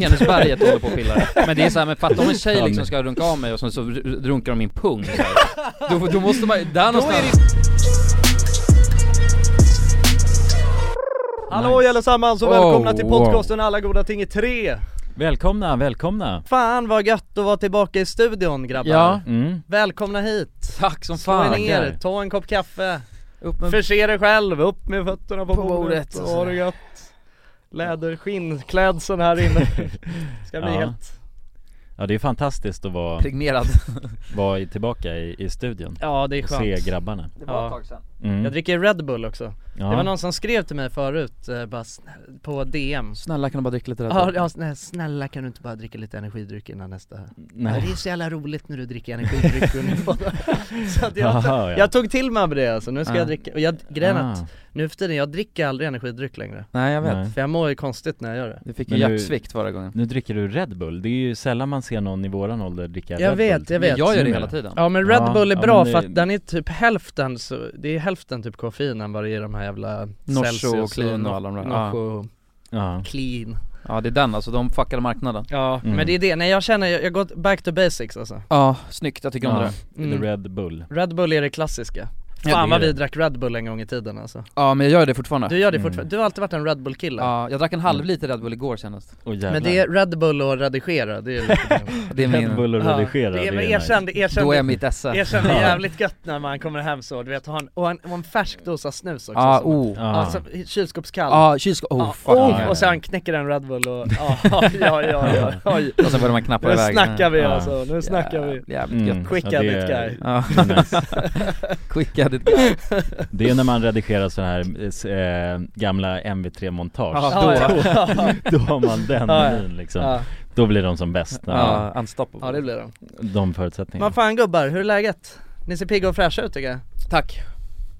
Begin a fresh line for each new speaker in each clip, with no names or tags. Venusberget håller på och pillar. Men det är såhär, men fatta om en tjej liksom ska runka av mig och så, så runkar de min pung så här. då, då måste man, där någonstans...
Hallå
Nice.
allesammans och
Oh,
välkomna till
wow.
podcasten Alla Goda Ting i 3
Välkomna, välkomna!
Fan vad gött att vara tillbaka i studion grabbar
Ja,
Mm.
Välkomna hit!
tack som
Slå er
fan.
ner, ta en kopp kaffe,
Upp med...
förse er själv, upp med fötterna på,
På bordet
bordet
och
och
sådär.
ha det gött Läderskinnklädseln här inne Ska bli
Ja.
helt
Ja det är fantastiskt att vara,
Pregnerad.
vara i- tillbaka i, i studion
Ja det är
och
skönt
se grabbarna
Det
var ett tag
sedan.
mm.
Jag dricker Red Bull också
ja.
Det var någon som skrev till mig förut, eh, bara sn- på DM
Snälla kan du bara dricka lite Red
Ja,
Bull?
ja snä- snälla kan du inte bara dricka lite energidryck innan nästa? Nej. Det
Nej.
är så jävla roligt när du dricker energidryck under podden. Så att jag,
Aha, ja.
jag tog till mig av det alltså, nu ska
Ja.
jag dricka, och jag, grejen är
Ah.
att nu för tiden, jag dricker aldrig energidryck längre
Nej jag vet.
Nej.
För jag mår ju konstigt när jag gör det
Du fick ju
Men nu-
hjärtsvikt förra gången.
Nu dricker du Red Bull, det är ju sällan man ser någon i våran ålder dricka
Jag
Red
vet,
Bull
jag vet.
Men jag gör det
Numera.
hela tiden.
Ja men Red
Ja,
Bull är
ja,
bra
men
för
det-
att den är typ hälften så, det är hälften typ koffein än vad det är i de här jävla Celsius
Norso och Clean och alla de där. Ja.
Norso och
Ja,
Clean
ja det är den alltså, de fuckade marknaden.
Ja,
Mm.
men det är det, nej jag känner, jag, jag går back to basics alltså
Ja, snyggt, jag tycker om det
ja.
där.
Mm.
The Red Bull
Red Bull är det klassiska
Ja,
Fan
det
vad
är
vi
det.
drack Red Bull en gång i tiden alltså
Ja men jag gör det fortfarande.
Du gör det
Mm.
fortfarande, du har alltid varit en Red Bull kille
Ja, jag drack en halv liter Red Bull igår senast.
och
Men det är Red Bull och redigera, det är lite
Det är
Red
min...
Bull och
Ja,
redigera,
det är,
det
men
är
erkänn, det, erkänn,
Då är
det-
jag mitt esse.
erkänn det är jävligt gött när man kommer hem så, du vet, ha en, och, en, och en färsk dosa snus också
Ja,
som-
oh.
Ja.
alltså, kylskåpskall
Ja, kylskåp,
Ja,
oh fuck
oh,
ja.
och sen knäcker en Red Bull och, ja, ja, ja, ja, ja, oj.
Och sen börjar man knappa
Nu
iväg
snackar vi
Ja.
alltså, nu snackar vi
Jävligt, jävligt gött
Mm.
Quick
Ja, det
edit
är-
guy
Ja,
Nice.
quickade guy
Det är när man redigerar så här eh, gamla MV3-montage,
Ja.
ja, ja,
då har man den
Ja, ja.
menyn liksom
ja,
Då blir de som bäst, när man-
Ja, unstoppable
ja det blir det
de förutsättningarna
Men fan gubbar, hur är läget? Ni ser pigga och fräscha ut tycker jag
Tack!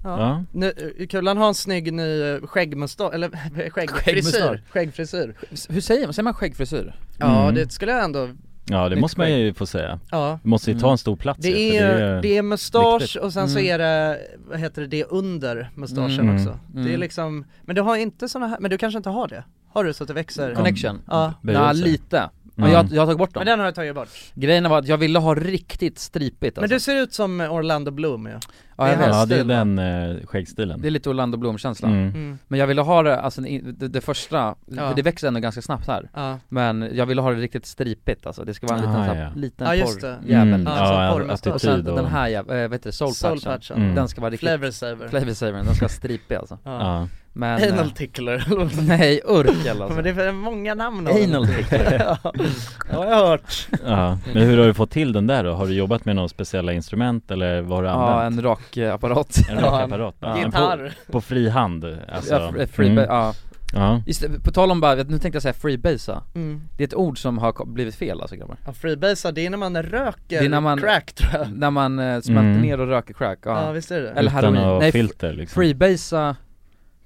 Ja.
Ja,
Nu, Kulan har en snygg ny skäggmustasch, eller skäggfrisyr,
Skäggmustasch.
skäggfrisyr
Hur säger man? Säger man skäggfrisyr?
Ja
Mm.
det skulle jag ändå,
ja det
Mitt
måste man ju få säga
ja
Vi måste ju ta en stor plats ju,
Det
för
är, det är mustasch
viktigt.
och sen så
Mm.
är det, vad heter det, det under mustaschen
Mm.
också
Mm.
Det är liksom, men du har inte såna här, men du kanske inte har det? Har du så att det växer?
Ja.
Connection?
Ja.
Böjelser.
Ja, lite. Men
Mm.
jag, jag har tagit bort
Men
dem.
den har jag tagit bort.
Grejen var att jag ville ha riktigt stripigt
Men
alltså.
du ser ut som Orlando Bloom ju.
ja, jag
det är
vet.
Ja det är
stil, va?
den eh, skäggstilen
Det är lite Orlando Bloom-känsla.
mm.
Mm.
Men jag ville ha det, alltså det, det första,
Ja.
det växer ändå ganska snabbt här.
Ja.
Men jag ville ha det riktigt stripigt alltså, det ska vara en liten,
Ah,
så här,
ja.
liten
Ja, just
porr
det.
jävel liksom.
Mm.
Ja,
Ja,
så
ja,
porrmustasch.
attityd
Och sen
då.
den här jävla, äh, vad heter det, soulpatchen,
Soulpatchen.
Mm.
den ska vara riktigt,
Flavor saver.
flavor savern, den ska vara stripig alltså
ja.
Ja,
Men, eh,
Anal tickler.
nej urkel alltså
Men det är för många namn av
Anal
den.
tickler.
ja, jag har jag hört.
ja, men hur har du fått till den där då? Har du jobbat med några speciella instrument eller vad har du
Ja,
använt?
en rakapparat
ja,
en,
en
rakapparat? Ja, en på,
Gitarr.
på fri hand alltså?
ja, fr- free ba-
Mm.
ja.
ja.
Just det, på tal om bara, vet- nu tänkte jag säga freebasea
Mm.
Det är ett ord som har ko- blivit fel alltså grabbar
Ja, freebasea, det är när man röker
Det är när man-
crack tror jag.
När man eh, smälter
Mm.
ner och röker crack, ja,
Ja visst är det.
Eller
Utan
heroin.
att
Nej,
ha
fr-
filter liksom
Freebasea,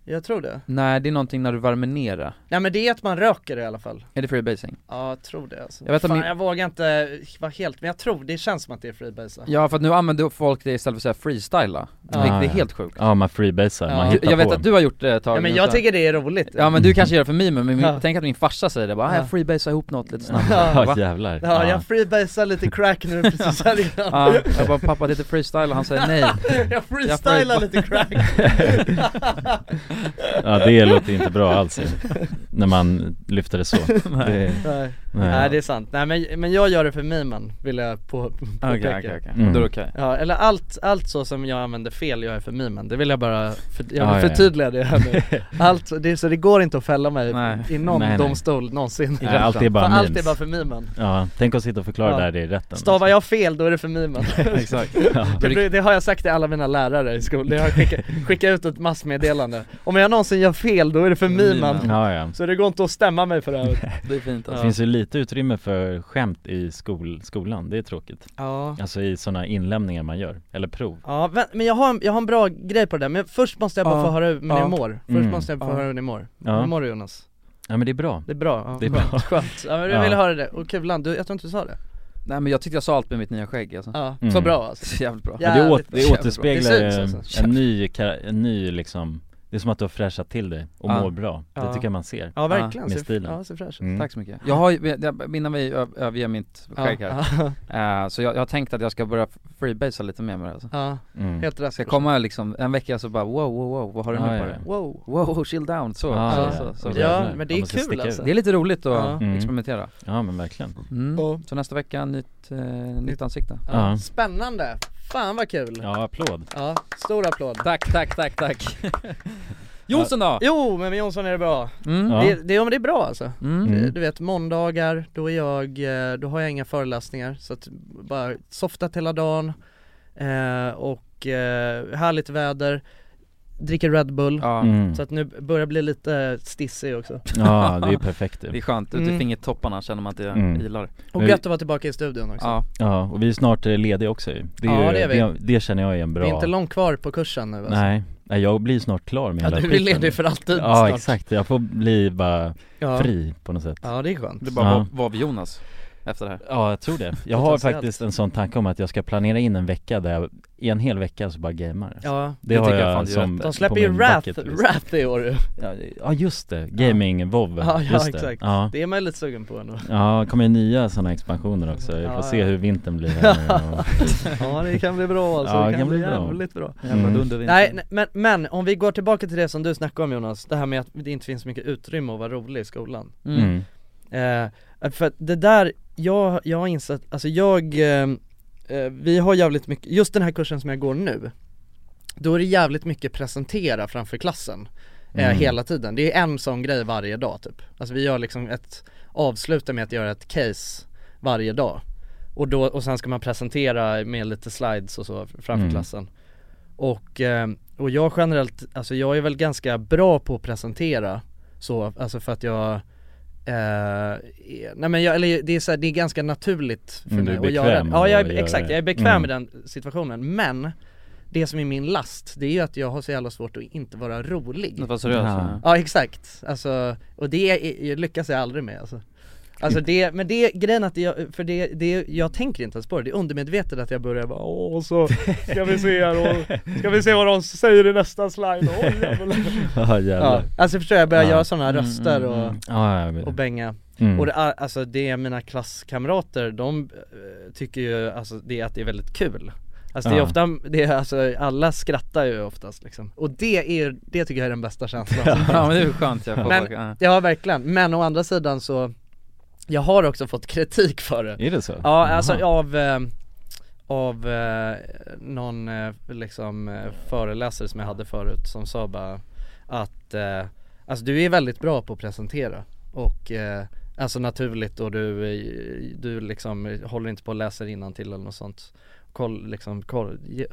Jag tror det.
nej det är någonting när du värmer ner det.
Nej men det är att man röker i alla fall.
Är det freebasing?
Ja, jag tror det alltså.
Jag vet att
Fan,
min-
jag vågar inte vara helt, men jag tror, det känns som att det är freebase
Ja för att nu använder folk det istället för att säga freestyla,
Ja.
vilket är
Ja.
helt sjukt
Ja man freebasar,
Ja.
man hittar
Jag vet
på
att du har gjort det ett tag
ja men
nu,
jag
så-
tycker det är roligt
Ja men du kanske gör det för mimen, men min,
Ja.
tänk att min farsa säger det bara, "Ah,
Ja.
jag freebasar ihop något lite snabbt
Ja,
Ja jävlar
ja jag freebasar lite crack nu precis här innan
Ja, jag bara pappa det heter freestyle och han säger nej
Jag freestylar
Jag
lite crack
ja det låter inte bra alls ju. När man lyfter det så Det-
Nej.
nej.
Nej det är sant, nej men, men jag gör det för mimen, vill jag på, påpeka
Okej okej okej,
Mm.
då är det okej
Ja, eller allt, allt så som jag använder fel gör jag för mimen, det vill jag bara, för, jag
Ah, Ja,
vill
ja, ja.
förtydliga det här nu Allt, det, så det går inte att fälla mig
Nej.
i någon
Nej, nej.
domstol någonsin
Nej, allt är bara
För allt är
memes.
bara för mimen
Ja, tänk att sitta och förklara
Ja.
det här i rätten
Stavar jag fel då är det för mimen
Exakt
Det, blir- det har jag sagt till alla mina lärare i skolan, jag har skickat, skickat ut ett massmeddelande Om jag någonsin gör fel då är det för mimen
Mimen.
Ja, ja.
Så det går inte att stämma mig för det här
Det är fint
Det
alltså.
finns ju lite utrymme för skämt i skol, skolan, det är tråkigt
Ja,
Alltså i sådana inlämningar man gör, eller prov
ja vä- men jag har, en, jag har en bra grej på det där, men först måste jag bara
Ja.
få höra hur hur
Ja.
ni mår Först
Mm.
måste jag få
Ja.
höra hur ni mår,
Ja.
hur mår du Jonas?
Ja men det är bra
Det är bra, ja.
Det är bra.
skönt, skönt. Ja men du
Ja.
ville höra det, och Kulan, du, jag tror inte du sa det?
Nej men jag tyckte jag sa allt med mitt nya skägg alltså,
Ja,
Mm.
så bra alltså
jävligt bra
Ja.
Men det,
Jävligt
åt,
bra.
det återspeglar
Det syns
en,
alltså.
en ny, kar- en ny liksom, det Det är som att du har fräschat till dig och
Ja.
mår bra. Det
Ja.
tycker jag man ser.
Ja verkligen,
med
ser-
stilen.
ja ser fräsch ut
Mm.
Tack så mycket. Jag har ju- jag- innan vi ö- överger mitt skägg här,
ja,
eh, så jag, jag har tänkt att jag ska börja freebasea lite mer med det alltså.
ja,
Mm.
helt rätt
Ska komma liksom en vecka så bara wow, wow, wow, vad har du nu
Ja,
på
ja,
dig?
Wow
Wow, chill down, så,
Ja,
så,
ja.
så,
Ja.
så,
Ja men det
Ja,
är
man ska
kul
sticka
alltså
Det är lite roligt att
Ja.
Mm.
experimentera
Ja men verkligen.
mm.
Ja.
Så nästa vecka, nytt, eh, nytt
Nytt-
ansikte
ja.
Ja.
Spännande, fan vad kul! Ja,
Ja, applåd.
stor applåd
Tack, tack, tack, tack Jonsson då!
Jo men med Jonsson är det bra,
Mm.
Ja.
det, det, ja, men det är bra alltså
Mm.
Mm.
Du- Du vet måndagar, då är jag, eh, då har jag inga föreläsningar så att bara softat hela dagen eh, och eh, härligt väder, dricker Red Bull
Ja,
Mm.
så att nu börjar bli lite stissig också
Ja, det är ju perfekt
det är
det.
skönt, ute i
Mm.
fingertopparna känner man att det
Mm.
ilar
Och
Nu-
gött att vara tillbaka i studion också
Ja,
Ja, och vi är snart eh, lediga också ju. det, är
Ja,
ju,
det är vi.
det, det känner jag är en bra
Det är inte långt kvar på kursen nu alltså.
Nej, Nej, jag blir snart klar med
Ja,
hela
du blir
skiten.
ledig för alltid
Ja
snart.
exakt, jag får bli bara
ja.
fri på något sätt
Ja det är skönt
det är bara
Ja.
var, var vi Jonas efter det här
Ja jag tror det. Jag
Ta
har
sig allt.
faktiskt en sån tanke om att jag ska planera in en vecka där jag, i en hel vecka så bara gamear
Ja,
Det,
Det
har
tycker
jag,
jag fan du gör
som
de
på
släpper ju
min
Wrath,
bucket list.
Wrath i år ju.
Ja, Ja just det, gaming, vov,
Ja, ja,
just det.
exakt.
Ja.
Det är man ju lite sugen på ändå
Ja, kommer ju nya sådana expansioner också. Jag får
Ja,
se
ja.
hur vintern blir här nu och,
Ja det kan bli bra alltså, det kan, bli,
bra.
jävligt bra
Jävla
Mm.
dundervinter.
Nej nej, men, men om vi går tillbaka till det som du snackade om Jonas, det här med att det inte finns så mycket utrymme att vara rolig i skolan
mm.
mm.
eh, För att det där, jag, jag har insett, alltså jag, eh, eh, vi har jävligt mycket, just den här kursen som jag går nu Då är det jävligt mycket presentera framför klassen eh,
Mm.
hela tiden, det är en sån grej varje dag typ Alltså vi gör liksom ett, avslutar med att göra ett case varje dag och, då, och sen ska man presentera med lite slides och så framför
Mm.
klassen och, eh, och jag generellt, alltså jag är väl ganska bra på att presentera så, alltså för att jag eh, är- nej men jag, eller det är så här, det är ganska naturligt för
Mm, du
mig
är
att göra
bekväm
det. Ja jag
att
är,
göra
exakt,
det.
jag är bekväm
Mm.
i den situationen men det som är min last, det är ju att jag har så jävla svårt att inte vara rolig
Något var seriöst
Ja.
Ja exakt, alltså, och det är- är- lyckas jag aldrig med alltså. Alltså det, men det, grejen att jag, för det, det, jag tänker inte ens på det, det är undermedvetet att jag börjar bara åh så ska vi se här och, ska vi se vad de säger i nästa slide, åh jävlar
Ja
ja,
jävlar.
Alltså förstår jag, jag börjar
Ja.
göra sådana
Mm,
röster
mm,
och,
mm.
Ja, jag vet.
och bänga
Mm.
Och det, är- alltså det är mina klasskamrater, de eh, tycker ju alltså det, att det är väldigt kul Alltså det är
Ja.
ofta, det är, alltså alla skrattar ju oftast liksom Och det är, det tycker jag är den bästa känslan
Ja men det är skönt jag får
Men-
ja.
Ja verkligen, men å andra sidan så Jag har också fått kritik för det
Är det så?
Ja alltså
Jaha.
av eh, Av eh, någon eh, liksom eh, föreläsare som jag hade förut som sa bara Att eh, Alltså du är väldigt bra på att presentera och eh, Alltså naturligt och du, eh, du liksom håller inte på och läser till eller något sånt Koll liksom, koll, ge-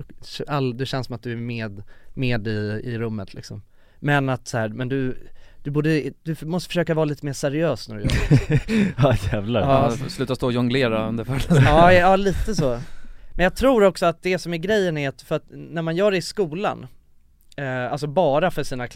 all, det känns som att du är med, med i, i rummet liksom Men att så här, men du, du borde, du måste försöka vara lite mer seriös när du gör det
Ja jävlar.
Ja.
Ja, Sluta stå och jonglera under föreläsningen
Ja, ja lite så. Men jag tror också att det som är grejen är att, för att när man gör det i skolan, eh, alltså bara för sina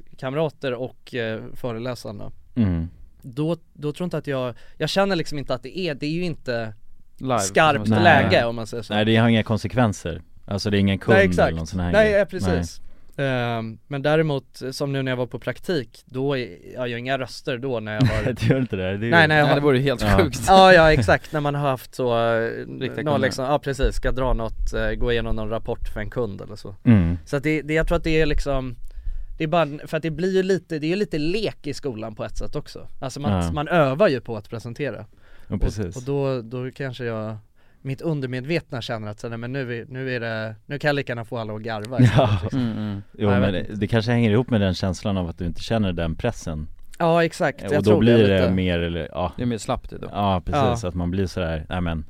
klasskamrater och eh, föreläsarna,
Mm.
då, då tror jag inte att jag, jag känner liksom inte att det är, det är ju inte
Live,
skarpt
som man
Nej.
säger.
läge om man säger så.
Nej det har inga konsekvenser. Alltså det är ingen kund
Nej, exakt.
eller någon sån här
Nej,
grej.
ja, precis. Ehm, men däremot, som nu när jag var på praktik, då, är, jag har ju inga röster då när jag
Nej,
har
det gör inte det. det är
Nej,
ju...
nej.
Nej det vore ju helt
Ja.
sjukt
Ja ja exakt, när man har haft så, eh,
kunder.
någon liksom, ja precis, ska dra något, eh, gå igenom någon rapport för en kund eller så
Mm.
Så att det, det, jag tror att det är liksom det är bara, för att det blir ju lite, det är ju lite lek i skolan på ett sätt också Alltså man,
Ja.
man övar ju på att presentera
Ja, precis.
Och, och då, då kanske jag, mitt undermedvetna känner att så, nej, men nu, är- nu är det, nu kan jag lika gärna få alla att garva
Ja.
liksom.
mm, mm.
Jo
Nej, jag
men
vet
det, det kanske hänger ihop med den känslan av att du inte känner den pressen.
ja exakt, jag
och
tror
då blir
det,
det
lite.
mer eller, ja,
Det är mer slappt ju då
ja precis att man blir sådär, nej men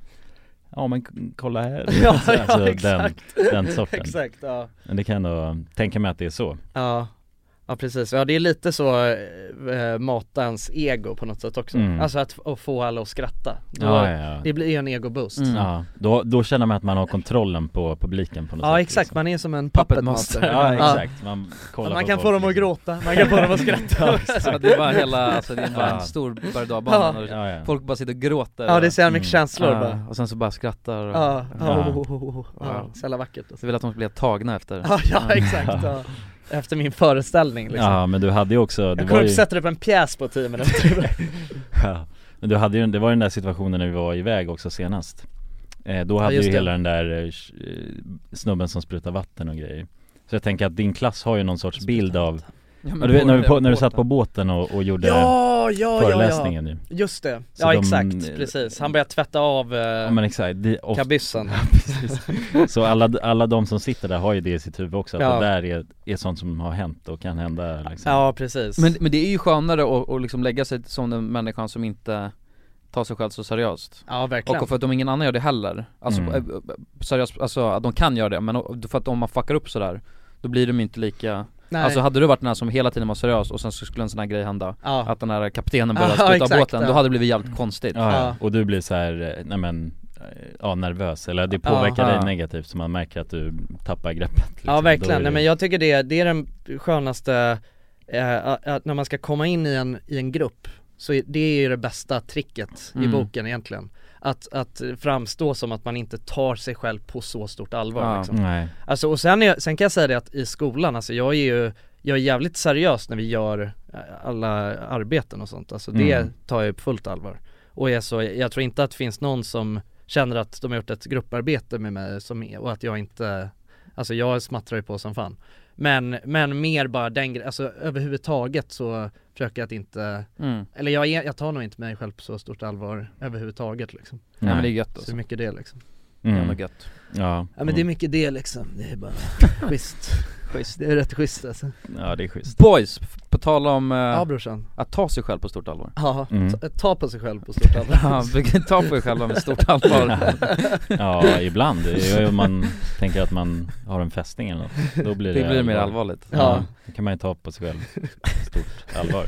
Ja men k- kolla här,
Ja,
Så-
ja,
alltså, den,
exakt.
den sorten
Exakt, ja
Men det kan jag ändå tänka mig att det är så
Ja, ja precis. Ja det är lite så eh, matans ego på något sätt också.
Mm.
Alltså att, att få alla att skratta. Då,
Ja, ja, ja.
Det blir ju en egoboost.
Mm.
ja då, då känner man att man har kontrollen på publiken på något sätt
Ja exakt,
liksom.
man är som en
Puppet
puppet
master.
master.
Ja
Ja.
exakt, man kollar
Man
på
kan
folk,
få dem att
liksom.
gråta, man kan få dem att skratta.
Så det är bara hela, alltså det är bara en
Ja.
stor berg och dalbana och
Ja, ja.
Folk bara sitter och gråter
Ja det är så jävla mycket
Mm.
känslor
Ja,
bara.
Och sen så bara skrattar och
Ja,
Ja.
ja. Oh, oh, oh, oh.
Ja.
ja. Så jävla vackert alltså.
Så vill att de ska bli tagna efter
Ja, ja exakt. Ja. efter min föreställning liksom.
Ja men du hade ju också, det
Jag
var
kunde
ju,
inte sätta upp en pjäs på 10 minuter
ja, men du hade ju, det var ju den där situationen när vi var iväg också senast eh, Då hade
just
ju
det.
hela den där eh, sh- eh, snubben som sprutar vatten och grejer Så jag tänker att din klass har ju någon sorts bild av, ja, du vet, när, vi på, när du satt på båten och, och gjorde
Ja, ja, ja, ja
föreläsningen ju
Just det,
Så
ja
de-
exakt, precis. Han började tvätta av eh,
Ja men exakt, det, och,
kabyssan
precis. Så alla, alla de som sitter där har ju det i sitt huvud också, att
Ja.
det där är, är sånt som har hänt och kan hända liksom.
Ja precis
Men, men det är ju skönare att, att liksom lägga sig som den människan som inte tar sig själv så seriöst
Ja verkligen
och för att om ingen annan gör det heller, alltså
Mm.
eh, eh, seriöst, alltså att de kan göra det, men o- för att om man fuckar upp sådär Då blir de ju inte lika,
Nej.
alltså hade du varit den här som hela tiden var seriös och sen så skulle en sån här grej hända
ja.
Att den här kaptenen började
Ja,
spruta
exakt,
båten,
ja. Mm.
då hade det blivit jävligt konstigt
Ja,
Ja.
ja. och du blir så här, eh, nej men, eh, ja nervös eller det påverkar
Ja.
dig negativt så man märker att du tappar greppet liksom.
Ja
Då
verkligen,
är
nej
det-
men jag tycker det, det är den skönaste, eh, att- att när man ska komma in i en, i en grupp så är, det är ju det bästa tricket i
Mm.
boken egentligen att, att framstå som att man inte tar sig själv på så stort allvar
Ja.
liksom.
Nej,
Alltså och sen, är, sen kan jag säga det att i skolan, alltså jag är ju jag är jävligt seriös när vi gör eh, alla arbeten och sånt, alltså det
Mm.
tar jag på fullt allvar Och jag, så, jag tror inte att det finns någon som känner att de har gjort ett grupparbete med mig som, är- och att jag inte Alltså jag smattrar ju på som fan Men, men mer bara den gre- alltså överhuvudtaget så försöker jag att inte
mm.
Eller jag, är, jag tar nog inte mig själv på så stort allvar överhuvudtaget liksom
Nej men det är
nej.
gött
Så det
alltså,
är mycket det liksom
jävla
Mm.
gött
Ja,
Ja men det är
mm.
mycket det liksom, det är bara schysst
Schysst.
Det är rätt schysst alltså
ja det är schysst
Boys, f- på tal om eh,
Ja brorsan,
att ta sig själv på stort allvar
ja,
Mm.
ta, ta på sig själv på stort
Ja,
allvar
ta på sig själva med stort allvar
Ja, ibland, det är ju om man tänker att man har en fästing eller något, då blir det,
Det blir mer allvarligt
Ja,
Ja.
då kan man ju ta på sig själv stort allvar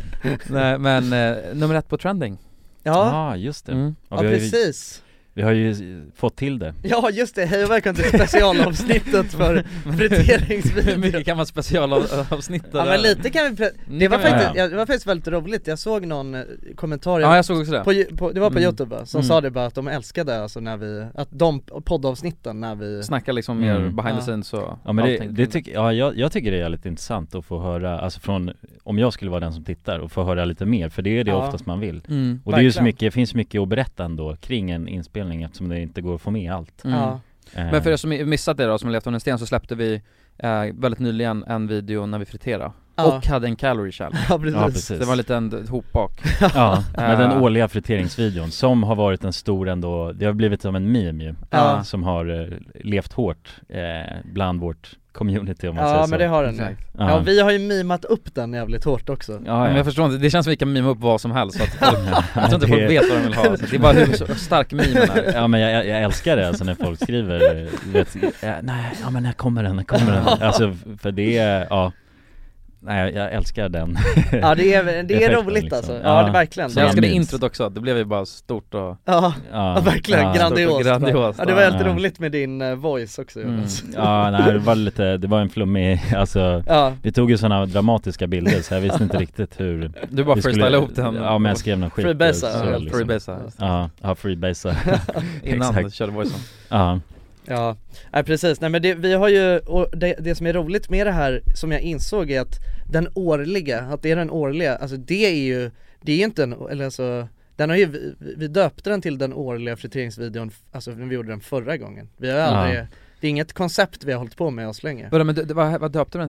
Nej men, eh, nummer ett på trending
Ja,
ah, just det
mm.
ja
vi, har ju,
precis
vi har ju fått till det
Ja just det, hej och välkommen till specialavsnittet för
Hur
friteringsvideon
mycket kan man specialavsnitta
Ja men lite kan vi, pre-
Mm,
det var
kan vi
faktiskt,
göra.
ja, det var faktiskt väldigt roligt, jag såg någon eh, kommentar
Ja jag såg också det
på, ju- på, det var på
Mm.
youtube va? som
Mm.
sa det bara att de älskade alltså när vi, att de poddavsnitten när vi
Snacka liksom mer
Mm.
behind
Ja.
the scenes och
Ja men det,
allting.
det tycker, ja jag, jag tycker det är lite intressant att få höra, alltså från, om jag skulle vara den som tittar och få höra lite mer, för det är det
Ja.
oftast man vill
mm.
Och det är ju så
Verkligen.
mycket, det finns mycket att berätta ändå kring en inspelning eftersom det inte går att få med allt
Mm.
Ja,
Eh,
Men för er som missat det då, som levt under en sten så släppte vi eh, väldigt nyligen en video när vi friterade
ja,
och hade en calorie challenge
ja precis,
Ja precis,
Det var en liten hopbak
ja, med den
Eh.
årliga friteringsvideon som har varit en stor ändå, det har blivit som en meme ju
Ja.
Som har eh, levt hårt eh, bland vårt community om man
Ja
säger
men
så
det har den nu
Exakt.
Ja.
ja,
vi har ju mimat upp den jävligt hårt också
ja,
Men
ja.
jag förstår inte, det känns som vi kan mima upp vad som helst så att folk, Jag tror inte
Det-
folk vet vad de vill ha, så det är bara hur så stark mimen är
Ja men jag, jag älskar det alltså när folk skriver, eh, du vet, eh, nej, ja men när kommer den, när kommer den? Alltså för det, är- ja Nej jag älskar den
Ja det är, det är
Effekten,
roligt
liksom.
alltså, ja,
Ja.
det är verkligen
Så jag älskade
minst.
introt också, det blev ju bara stort och
Ja, ja verkligen,
Stort
grandiost,
och grandiost,
ja, det var
ja.
helt roligt med din eh, voice också
Mm.
Jonas
Ja nej det var lite, det var en flummig, alltså
Ja,
vi tog ju sådana dramatiska bilder så jag visste inte riktigt hur
du bara
vi skulle-
freestylade ihop den
Ja men jag skrev någon skit
Freebasea,
så,
ja,
eller
liksom.
freebasea
Ja, ja freebasea
innan du
Exakt.
körde voicen
Ja,
ja, nej precis, nej men det, vi har ju, och det, det som är roligt med det här som jag insåg är att den årliga, att det är den årliga, alltså det är ju, det är ju inte en, eller alltså den har ju, vi, vi döpte den till den årliga friteringsvideon, alltså när vi gjorde den förra gången Vi har
Ja.
aldrig, det är inget koncept vi har hållit på med aslänge
Vadå men du- du- vad, vad döpte du den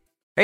Hey,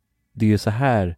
det är ju så här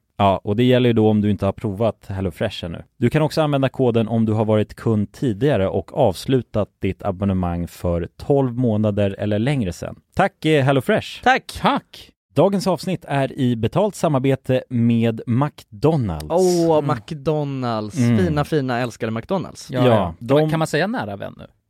Ja, och det gäller ju då om du inte har provat HelloFresh ännu. Du kan också använda koden om du har varit kund tidigare och avslutat ditt abonnemang för 12 månader eller längre sedan. Tack eh, HelloFresh!
Tack!
Tack!
Dagens avsnitt är i betalt samarbete med McDonalds.
Åh, McDonalds.
Mm.
Fina, fina, älskade McDonalds. Ja.
Mm. Ja,
Ja,
ja.
de-
Kan man säga nära vän nu?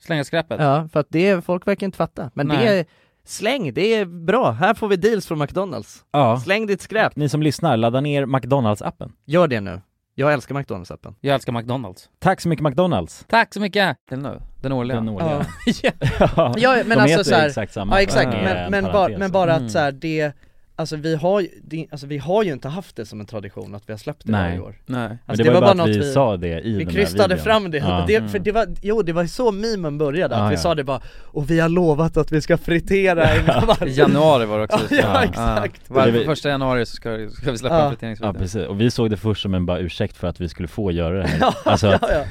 Slänga skräpet.
Ja, för att det, folk verkar inte fatta. Men det
Nej.
är, Släng, det är bra. Här får vi deals från McDonalds.
Ja,
Släng ditt skräp.
ni som lyssnar, ladda ner McDonalds-appen.
Gör det nu. Jag älskar McDonalds-appen.
Jag älskar McDonalds.
Tack så mycket McDonalds!
Tack så mycket! Den, nu, den årliga.
Den årliga.
Ja.
Ja,
Ja, men
de
alltså
heter
så här-
exakt samma.
Ja exakt,
Det är
men,
en
men, bara,
parentes.
men bara
Mm.
att så här, det, alltså vi har ju, det, alltså vi har ju inte haft det som en tradition att vi har släppt det
Nej.
varje år.
Nej.
Men
Alltså,
det, var ju bara att vi, sa det i
vi
den
krystade
där videon.
fram det,
Ja.
det för det var, jo det var ju så memen började, att
Ja,
vi
ja.
sa det bara Och vi har lovat att vi ska fritera innan
I
varje
januari var det också.
Ja, ja, exakt.
Var,
Det är vi-
första januari så ska, ska vi släppa
Ja.
en
Ja
uppdateringsvideo.
precis, och vi såg det först som en bara ursäkt för att vi skulle få göra det här Alltså
Ja,
att,
ja.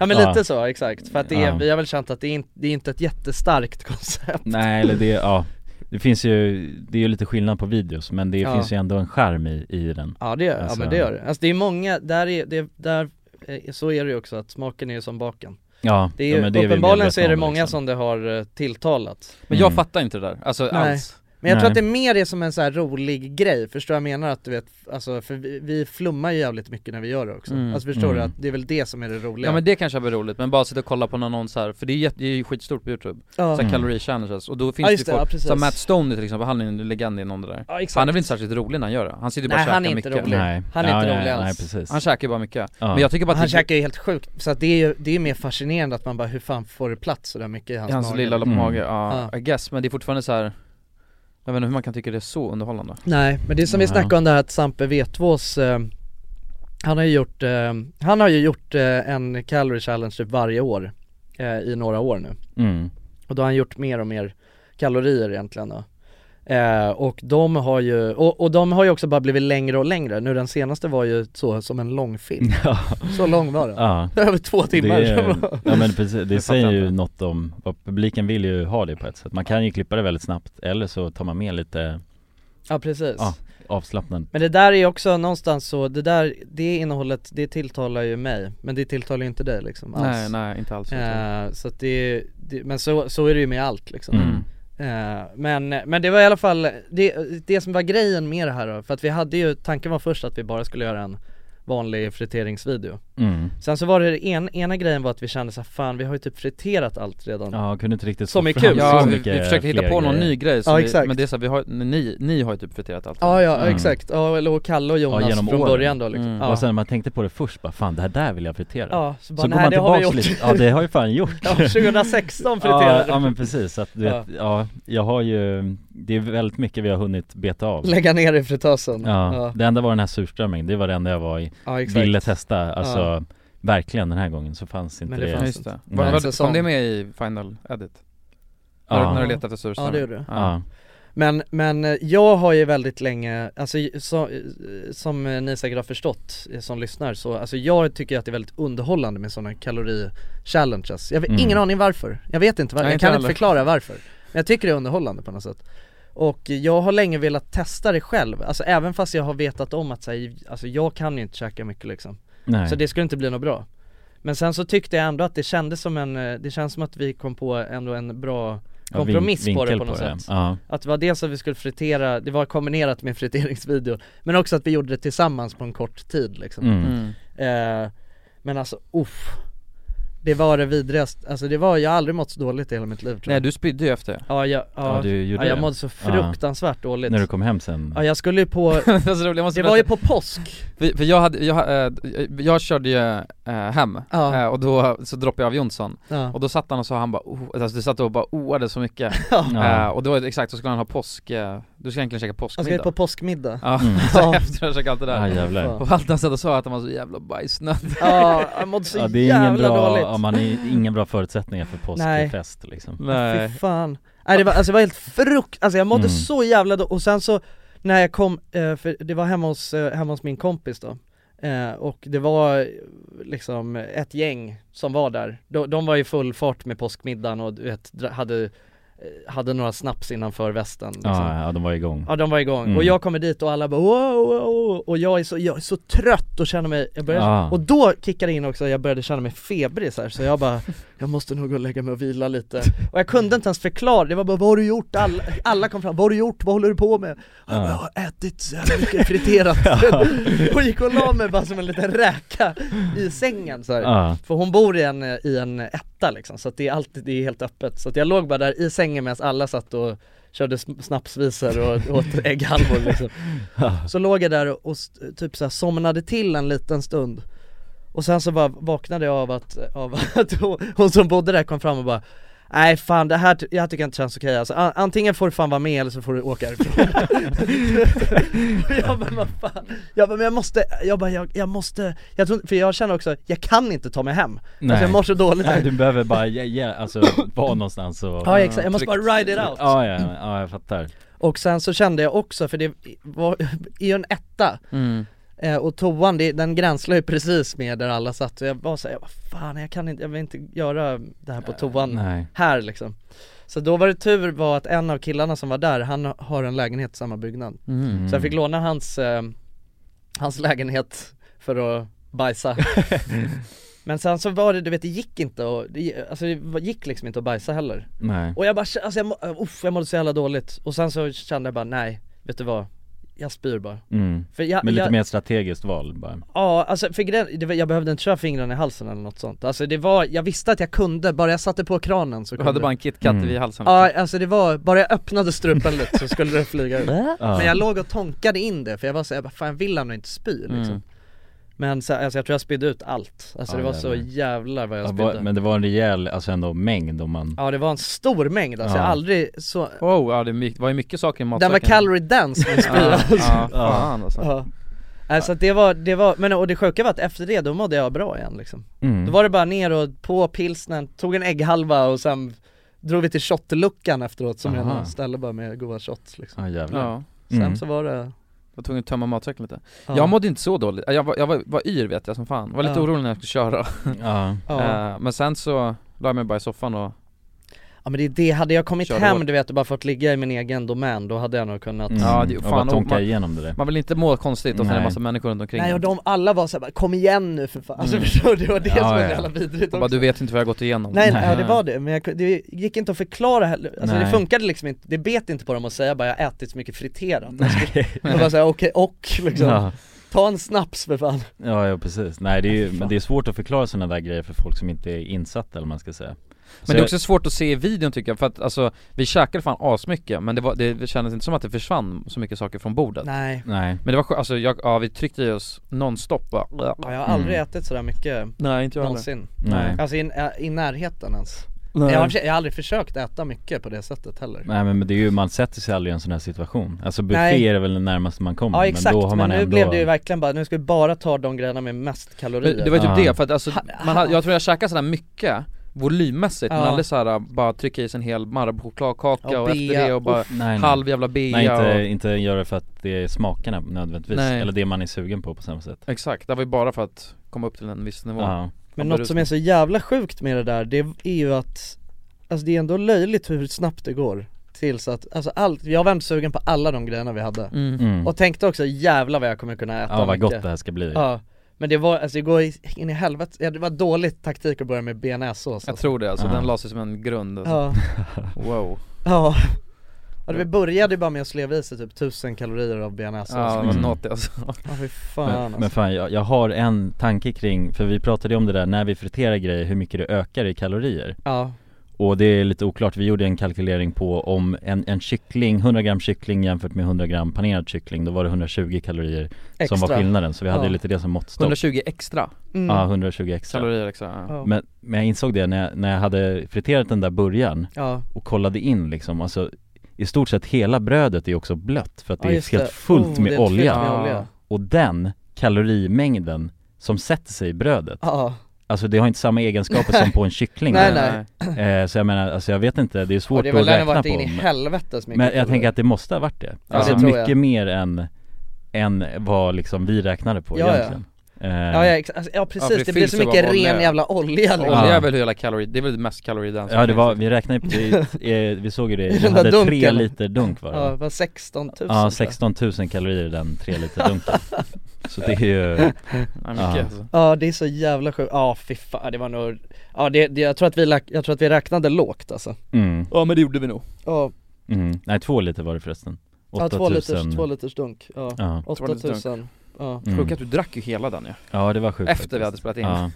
ja men
Ja.
lite så, exakt. För att det är,
Ja.
vi har väl känt att det är, in, det är inte ett jättestarkt koncept
nej eller det, ja Det finns ju, det är ju lite skillnad på videos men det
Ja.
finns ju ändå en charm i, i den
Ja det gör
Alltså-
ja men det gör det. Alltså det är många, där är, det, där, eh, så är det ju också att smaken är ju som baken
Ja,
Det är ju,
ja, men vi
uppenbarligen så är
medvetna
det
om,
många
liksom.
som det har eh, tilltalat
Men jag
Mm.
fattar inte det där, alltså
Nej.
alls.
Men jag tror
Nej.
att det mer är som en så här rolig grej, förstår jag menar? Att du vet, alltså för vi, vi flummar ju jävligt mycket när vi gör det också
Mm.
Alltså förstår du
Mm.
att det är väl det som är det roliga
Ja men det kanske blir roligt, men bara sitta och kolla på någon annons här, för det är, jätte, det är ju skitstort på youtube,
ja.
såhär
Mm.
calorie challenges, och då finns
Ja,
det ju
just det, ja,
folk,
precis.
som Matt Stone till exempel, han är en legend inom det där
ja exakt
Han är väl inte särskilt rolig när han gör det? Han sitter ju bara
Nej,
och
han är
käkar
inte
mycket
rolig.
Nej.
Han är
ja,
inte
ja,
rolig
nej,
alls.
precis
Han käkar ju bara mycket,
Ja.
men jag tycker bara typ- att
Han
det-
käkar ju helt sjukt, så att det är ju, det är mer fascinerande att man bara hur fan får du plats sådär mycket i hans,
i hans
mage?
lilla
Mm.
mage, ja,
Ja.
I guess, men det är fortfarande så här. Jag vet inte hur man kan tycka det är så underhållande
Nej, men det är som vi
Ja.
snackade om det här att Sampe Vetvås eh, Han har ju gjort, eh, han har ju gjort eh, en calorie challenge typ varje år eh, i några år nu
mm.
Och då har han gjort mer och mer kalorier egentligen då. Eh, och de har ju, och, och de har ju också bara blivit längre och längre. Nu den senaste var ju så som en lång film.
Ja,
Så lång var den.
ja
Över två timmar.
Det är, ja men precis, det
Jag fattar
säger ju
inte.
något om vad publiken vill ju ha det på ett sätt Man kan ju klippa det väldigt snabbt eller så tar man med lite
ja precis.
Ja. avslappnad
Men det där är också någonstans så, det där, det innehållet, det tilltalar ju mig. Men det tilltalar ju inte dig liksom alls.
Nej nej, inte alls
Eh, så att det, det, men så, så är det ju med allt liksom.
Mm.
Eh, men, men det var i alla fall det, det som var grejen med det här då, för att vi hade ju, tanken var först att vi bara skulle göra en vanlig friteringsvideo
Mm.
Sen så var det en, ena grejen var att vi kände så här, fan vi har ju typ friterat allt redan
Ja, jag kunde inte riktigt
Som
få
är
fram
kul.
så
Ja, vi,
mycket
vi försöker hitta
fler
på någon
grejer.
ny grej,
Ja,
som vi,
exakt.
men det är så här, vi har, ni, ni har ju typ friterat allt
Ja ja
Mm.
exakt, ja eller och Kalle och Jonas
genom
från
åren.
början då liksom
Mm.
ja.
Och sen när man tänkte på det först bara, fan det här där vill jag fritera
ja, så bara
Så går
nej
man
det har vi
tillbaks
gjort
lite, ja det har jag fan gjort
ja, 2016
ja,
friterade
ja
vi
men precis, så att du vet, ja jag har ju, det är väldigt mycket vi har hunnit beta av
Lägga ner i fritösen
Ja,
ja,
det enda var den här surströmmingen, det var det enda jag var i,
Ja, exakt
ville testa, alltså verkligen den här gången så fanns inte
Men
det,
det
Ja,
fanns-
just det.
Nej.
Var,
En
var,
Mm. säsong.
kom det med i final edit? När, du,
ja,
när du letade efter surströmming?
Ja, det gjorde jag.
ja,
Men, men eh, jag har ju väldigt länge, alltså så, eh, som eh, ni säkert har förstått eh, som lyssnar så, alltså jag tycker att det är väldigt underhållande med sådana kalori-challenges Jag har
Mm.
ingen aning varför, jag vet inte varför,
Nej,
jag
inte
kan inte
heller.
förklara varför Men jag tycker det är underhållande på något sätt Och jag har länge velat testa det själv, alltså även fast jag har vetat om att så här, alltså jag kan ju inte käka mycket liksom
nej,
Så det skulle inte bli något bra Men sen så tyckte jag ändå att det kändes som en, eh, det känns som att vi kom på ändå en bra
Ja, vin-
kompromiss på det
vinkel
på något sätt
Ja,
att det var dels att vi skulle fritera, det var kombinerat med en friteringsvideo Men också att vi gjorde det tillsammans på en kort tid liksom
mm.
Mm.
eh, Men alltså uff Det var det vidrigaste, alltså det var, jag har aldrig mått så dåligt i hela mitt liv tror
Nej
jag
du spydde ju efter
Ja jag, ja,
ja du
ja,
gjorde
jag
det,
mådde så fruktansvärt dåligt
när du kom Alltså, hem sen
Ja jag skulle ju på,
det var så roligt, jag måste
det var ju
berätta.
på påsk
För, för jag hade, jag, eh, jag körde ju eh, hem
Ja.
eh, och då så droppade jag av Jonsson
Ja,
och då satt han och sa han bara oh, alltså du satt och bara oade så mycket
ja.
eh, och då var det exakt, så skulle han ha påsk, eh, du ska egentligen käka
Jag ska ju
påskmiddag
på påskmiddag
Ja,
Mm.
så efter jag käkat allt det
Ja
där
jävlar
Och allt han satt och sa att han var så jävla bajsnödig
Ja, jag mådde så
Ja det är
jävla
ingen bra,
dåligt
ja, man är ingen bra förutsättningar för
Nej.
påskfest liksom
Fy fan. Nej det var, alltså det var helt frukt, alltså jag mådde
Mm.
så jävla då och sen så när jag kom, eh, för det var hemma hos, eh, hemma hos min kompis då eh, och det var eh, liksom ett gäng som var där, de, de var i full fart med påskmiddagen och du vet, dra- hade, eh, hade några snaps innanför västen liksom.
Ja, ja de var igång
Ja de var igång,
Mm.
och jag kommer dit och alla bara wow, wow, wow. och jag är, så, jag är så trött och känner mig, jag börjar,
Ja.
och då kickade in också, jag började känna mig febrig så här, så jag bara Jag måste nog gå och lägga mig och vila lite Och jag kunde inte ens förklara, det var bara vad har du gjort? Alla, alla kom fram, vad har du gjort? Vad håller du på med? Och Jag, bara, jag har ätit så jävla mycket friterat Och gick och la mig bara som en liten räka i sängen så här.
Ja,
För hon bor i en, i en etta liksom, så att det är alltid, det är helt öppet Så att jag låg bara där i sängen medan alla satt och körde sn- snapsvisor och åt ägghalvor liksom. Så låg jag där och, och s- typ så här somnade till en liten stund Och sen så bara vaknade jag av att, av att hon, hon som bodde där kom fram och bara Nej fan det här, ty- jag tycker inte känns okej alltså, A- antingen får du fan vara med eller så får du åka härifrån Och Jag bara vad fan, jag bara men jag måste, jag bara jag, jag måste, jag tror, för jag känner också, jag kan inte ta mig hem
Nej.
Alltså jag mår så dåligt
Nej, du behöver bara, ja, ja, alltså vara någonstans och
Ja exakt, jag måste bara ride it out
Ja, ja, ja, jag fattar.
Och sen så kände jag också, för det var, är ju en etta
Mm.
Eh, och toan, det, den gränslar ju precis med där alla satt och jag var såhär, jag bara, fan jag kan inte, jag vill inte göra det här på toan
Nej.
här liksom Så då var det tur var att en av killarna som var där, han har en lägenhet i samma byggnad Så jag fick låna hans, eh, hans lägenhet för att bajsa Men sen så var det, du vet det gick inte och, det, alltså det gick liksom inte att bajsa heller
Nej.
och jag bara, alltså jag, må- uff, jag mådde så jävla dåligt och sen så kände jag bara, nej, vet du vad? Jag spyr bara
Mm.
för jag,
Men lite
jag,
mer strategiskt val bara.
Ja, alltså för grejen, det var- jag behövde inte köra fingrarna i halsen eller något sånt Alltså det var, jag visste att jag kunde, bara jag satte på kranen så
Du
kunde
hade bara en KitKat
Mm.
vid halsen
Ja, alltså det var, bara jag öppnade strupen lite så skulle det flyga ut
Ja.
Men jag låg och tonkade in det för jag var så jag bara, fan jag vill ändå inte spy liksom
Mm.
Men så, alltså jag tror jag spydde ut allt, alltså
Ja,
det var så
jävlar.
jävlar vad jag
Ja,
spydde
var, men det var en rejäl, alltså ändå mängd om man
Ja det var en stor mängd, alltså
Ja.
jag har aldrig så
Wow, ja, det my- var ju mycket saker i
Den
matsäcken
var calorie dance med spy
Ja,
alltså.
ja, fan alltså
Ja. Alltså det var, det var, men och det sjuka var att efter det då mådde jag bra igen liksom
mm.
Då var det bara ner och på pilsnen, tog en ägghalva och sen drog vi till shotluckan efteråt som
Aha.
är en ställe bara med goda shots liksom
Ja jävlar
Ja,
Sen
Mm.
så var det
var tvungen att tömma matsäcken lite
ja.
Jag mådde inte så dåligt, jag var, jag var, var yr vet jag som fan, var lite
Ja.
orolig när jag skulle köra
Ja, Mm.
ja.
Eh, Men sen så la jag mig bara i soffan och
ja men det är det, hade jag kommit
Körde
hem
hårt.
du vet och bara fått ligga i min egen domän då hade jag nog kunnat
mm.
Ja, det-
och
fan,
bara
och
tonka
man-
igenom det där
Man vill inte må konstigt och sen är det
Nej.
massa människor runt omkring
Nej och de alla var såhär bara, kom igen nu för fan, alltså förstår du? Det var det
Mm. Ja,
som var
ja.
så jävla vidrigt
Och
också
bara, du vet inte vad jag har gått igenom
Nej, nej. Ja, det var det, men jag, kunde- det gick inte att förklara heller, alltså det
Nej.
funkade liksom inte, det bet inte på dem att säga bara jag har ätit så mycket friterat Och bara såhär, okej och liksom,
ja.
ta en snaps för fan
ja, ja precis, nej det är ju, men det är svårt att förklara sådana där grejer för folk som inte är insatta eller vad man ska säga Så
Men det är
jag-
också svårt att se i videon tycker jag, för att alltså, vi käkade fan asmycket men det, var, det kändes inte som att det försvann så mycket saker från bordet
Nej,
Nej,
Men det var skö- alltså jag, ja vi tryckte i oss nonstop bara
ja, jag har aldrig
Mm.
ätit sådär mycket
Nej inte
någonsin
nej,
Alltså i, i närheten ens
Nej.
jag har, jag har aldrig försökt äta mycket på det sättet heller
nej men men det är ju, man sätter sig aldrig i en sån här situation Alltså buffé
Nej.
är väl det närmaste man kommer
Ja exakt,
men då har
men,
man
nu
ändå
blev det ju verkligen bara, nu ska vi bara ta de grejerna med mest
Men
kalorier
det var typ
Ja.
det, för att alltså,
Ha-
man hade, jag tror jag käkade sådär mycket volymmässigt men
Ja.
aldrig såhär bara trycka i sig en hel Marabou-chokladkaka
Ja,
och,
bea,
efter det och bara
Nej, nej.
halv jävla bea
Nej inte,
och,
inte göra det för att det är smakerna nödvändigtvis,
Nej.
eller det man är sugen på på samma sätt
Exakt, det var ju bara för att komma upp till en viss nivå
Ja,
Men
Om
något
berusning.
som är så jävla sjukt med det där, det är ju att Alltså det är ändå löjligt hur snabbt det går Tills att, alltså allt, jag var ändå sugen på alla de grejerna vi hade
Mm.
mm.
Och tänkte också jävla vad jag kommer kunna äta
ja vad
mycket.
gott det här ska bli
Ja, men det var, alltså det går i- in i helvete, ja, det var dålig taktik att börja med bearnaisesås
Jag
alltså.
tror det alltså,
Ja.
den la sig som en grund alltså.
Ja,
Wow
ja Ja, det- vi började ju bara med att sleva i sig typ tusen kalorier av bearnaisesås
Ja, det var
Mm.
något alltså
Ja fy fan
Men,
alltså.
men fan jag, jag har en tanke kring, för vi pratade ju om det där när vi friterar grejer hur mycket det ökar i kalorier
Ja,
Och det är lite oklart, vi gjorde en kalkylering på om en, en kyckling, 100 gram kyckling jämfört med 100 gram panerad kyckling Då var det 120 kalorier
extra
som var skillnaden, så vi hade
Ja.
lite det som måttstock
120 extra
mm.
Ja, 120 extra
kalorier liksom. Ah. extra ja.
Ja.
men, men jag insåg det när jag, när jag hade friterat den där burgaren
ja.
och kollade in liksom, alltså i stort sett hela brödet är också blött för att det
Ja,
är
just
helt
det.
fullt
Oh,
med
det är
olja
fullt med
Ja.
olja.
Och den kalorimängden som sätter sig i brödet
Ja,
Alltså det har inte samma egenskaper som på en kyckling
Nej,
men,
Ah.
nej.
Eh, Så jag menar, alltså jag vet inte, det är
och
svårt
det
att
var lär
räkna
varit
på
in i
men-
helvetes mycket
Men jag
kalorier.
tänker att det måste ha varit det
Ja,
Alltså
det
tror
mycket
jag.
mer än, än vad liksom vi räknade på
Ja, ja.
egentligen Eh,
Ja, ja, ex- alltså, ja precis,
Ja, för
det,
det
blir
fylls
så
ju
mycket
bara
ren
olja.
jävla olja liksom.
Olja
Ja.
är väl hela kalorier, det är väl det mest kalorier den som
Ah. Eh, Ja det var,
finns.
vi räknade på det, eh, vi såg ju det,
den
vi
där
hade tre
dunken.
liter dunk var
Ja, det
det
var 16 000
Ja,
tror jag.
16 000 kalorier i den tre liter dunken Så det är ju,
Ja, mycket
Ja.
alltså.
Ja det är så jävla sjukt, ja fy fan, det var nog, ja det, det, jag, tror att vi, lä- jag tror att vi räknade lågt alltså
mm,
Ja men det gjorde vi nog
Ja,
mm. nej två liter var det förresten
ja
8
två
000
liters, två liters dunk, ja,
Ja,
8000 ja.
mm.
Sjukt att du drack ju hela den ju,
ja det var sjukt Ah.
efter vi hade spelat in
Ja,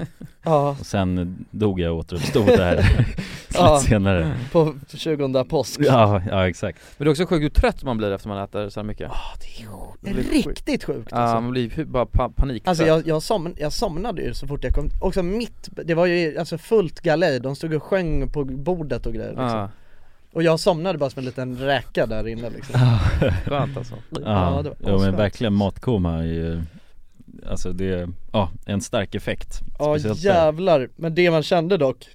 ja,
och sen dog jag och återuppstod där
Ja.
senare.
På 20 påsk
Ja, ja exakt.
Men det är också sjukt hur trött man blir efter man äter så här mycket.
Ah, det är sjukt, det är riktigt sjukt alltså.
Ja, man blir hu- bara pa- panik.
Alltså jag, jag, somn, jag somnade ju så fort jag kom, också mitt, det var ju alltså fullt galej, de stod och sjöng på bordet och grejer liksom.
Ja,
Och jag somnade bara som en liten räka där inne liksom
skönt alltså.
Ja,
det var
jo, men
asfett.
verkligen matkoma är ju Alltså det är, ja, en stark effekt
Ja
Speciellt där. Ah,
jävlar, men det man kände dock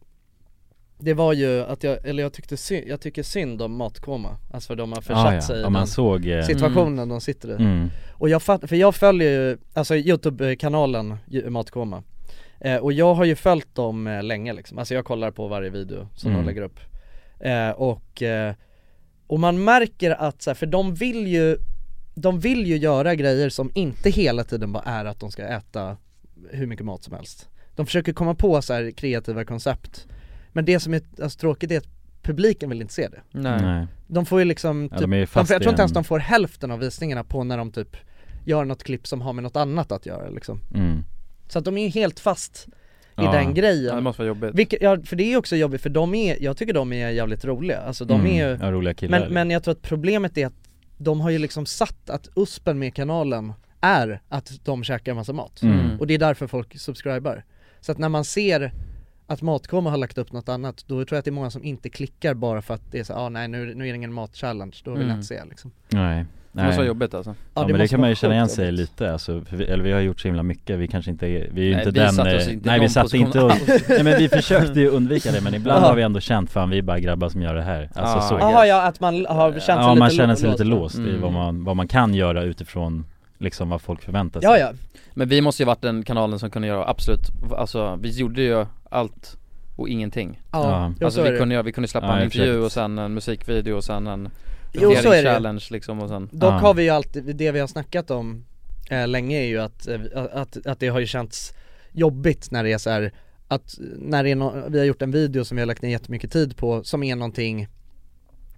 Det var ju att jag, eller jag tyckte synd, jag tycker synd om matkoma Alltså för de har försatt
Ja, ja.
sig i
ja, man
den
såg eh,
situationen de sitter i
mm.
Och jag fattar, för jag följer ju, alltså Youtube-kanalen Ju- Matkoma eh, Och jag har ju följt dem eh, länge liksom, alltså jag kollar på varje video som
Mm.
de lägger upp eh, Och, eh, och man märker att så här, för de vill ju, de vill ju göra grejer som inte hela tiden bara är att de ska äta hur mycket mat som helst De försöker komma på så här kreativa koncept Men det som är alltså, tråkigt är att publiken vill inte se det
Nej.
Nej.
de får ju liksom
Ja,
typ,
de är ju
de
fast
får, jag
i
tror inte ens
en-
de får hälften av visningarna på när de typ gör något klipp som har med något annat att göra liksom.
Mm.
Så att de är ju helt fast i
Ja.
den
Ja, det
grejen.
måste vara jobbigt.
Vilket, ja, för det är ju också jobbigt för de är, jag tycker de är jävligt roliga, alltså de är ju,
Mm. ja, roliga killar
men, men jag tror att problemet är att de har ju liksom satt att USPen med kanalen är att de käkar en massa mat.
mm.
Och det är därför folk subscribar. Så att när man ser att Matkoma har lagt upp något annat, då tror jag att det är många som inte klickar bara för att det är så ah, nej nu, nu är det ingen matchallenge, då vill
Mm.
jag inte se liksom.
Nej,
Det måste vara
nej.
jobbigt alltså.
Ja, men det
måste
kan man ju
vara
känna igen
sjukt
sig
jobbigt.
lite alltså, för vi, eller vi har gjort så himla mycket, vi kanske inte, är- vi är ju
Nej,
inte
vi
den
satte oss
eh,
inte i
Nej vi
någon
satte inte
position
oss, nej men vi försökte ju undvika det men ibland
Ja.
har vi ändå känt fan vi är bara grabbar som gör det här Alltså
Ja.
så
Jaha ja, att man har känt sig
Ja
lite
man känner sig lite
låst.
låst i
Mm.
vad man, vad man kan göra utifrån liksom vad folk förväntar sig
Ja ja,
Men vi måste ju varit den kanalen som kunde göra absolut, alltså vi gjorde ju allt och ingenting.
ja, jo,
Alltså
så är
vi
det.
kunde, göra- vi kunde släppa
Ja,
en
exakt.
intervju och sen en musikvideo och sen en
Jo, så är det.
challenge liksom och sen
Dock
Ja.
har vi ju alltid, det vi har snackat om eh, länge är ju att, eh, att, att det har ju känts jobbigt när det är så här att när det är no- vi har gjort en video som vi har lagt ner jättemycket tid på som är någonting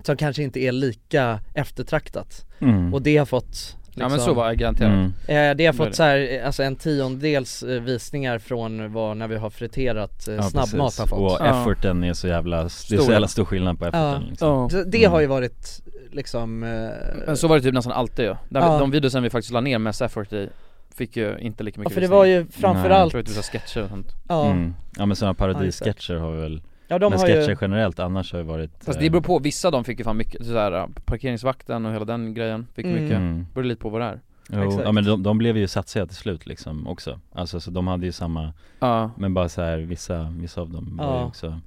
som kanske inte är lika eftertraktat
mm.
och det har fått liksom,
Ja men så var det garanterat.
mm.
eh, Det har
var
fått
det.
så här, eh, alltså en tiondels eh, visningar från vad när vi har friterat eh,
Ja,
snabbmat
precis.
har fått
Och
Ja.
efforten är så jävla, det är så
Stor.
jävla stor skillnad på efforten
Ja.
liksom.
Så det har ju varit liksom eh,
Mm. Men så var det typ nästan alltid ju. Där vi-
Ja.
De videosen vi faktiskt la ner mest effort i fick ju inte lika
Ja
mycket
för det var
visningar.
ju
Jag
framförallt,
tror att vi sa sketcher och sånt.
ja,
Mm. ja men sådana
exakt.
parodisketcher har vi väl,
ja de
men
har
sketcher
ju
generellt annars har ju varit
Fast
eh,
det beror på, vissa de fick ju fan mycket, sådär, parkeringsvakten och hela den grejen fick
Mm.
mycket.
mm.
Beror lite på vad det är.
Jo,
Exakt.
ja men de, de blev ju satsiga till slut liksom också Alltså så de hade ju samma,
Ja.
men bara så här vissa, vissa av dem var
Ja.
ju också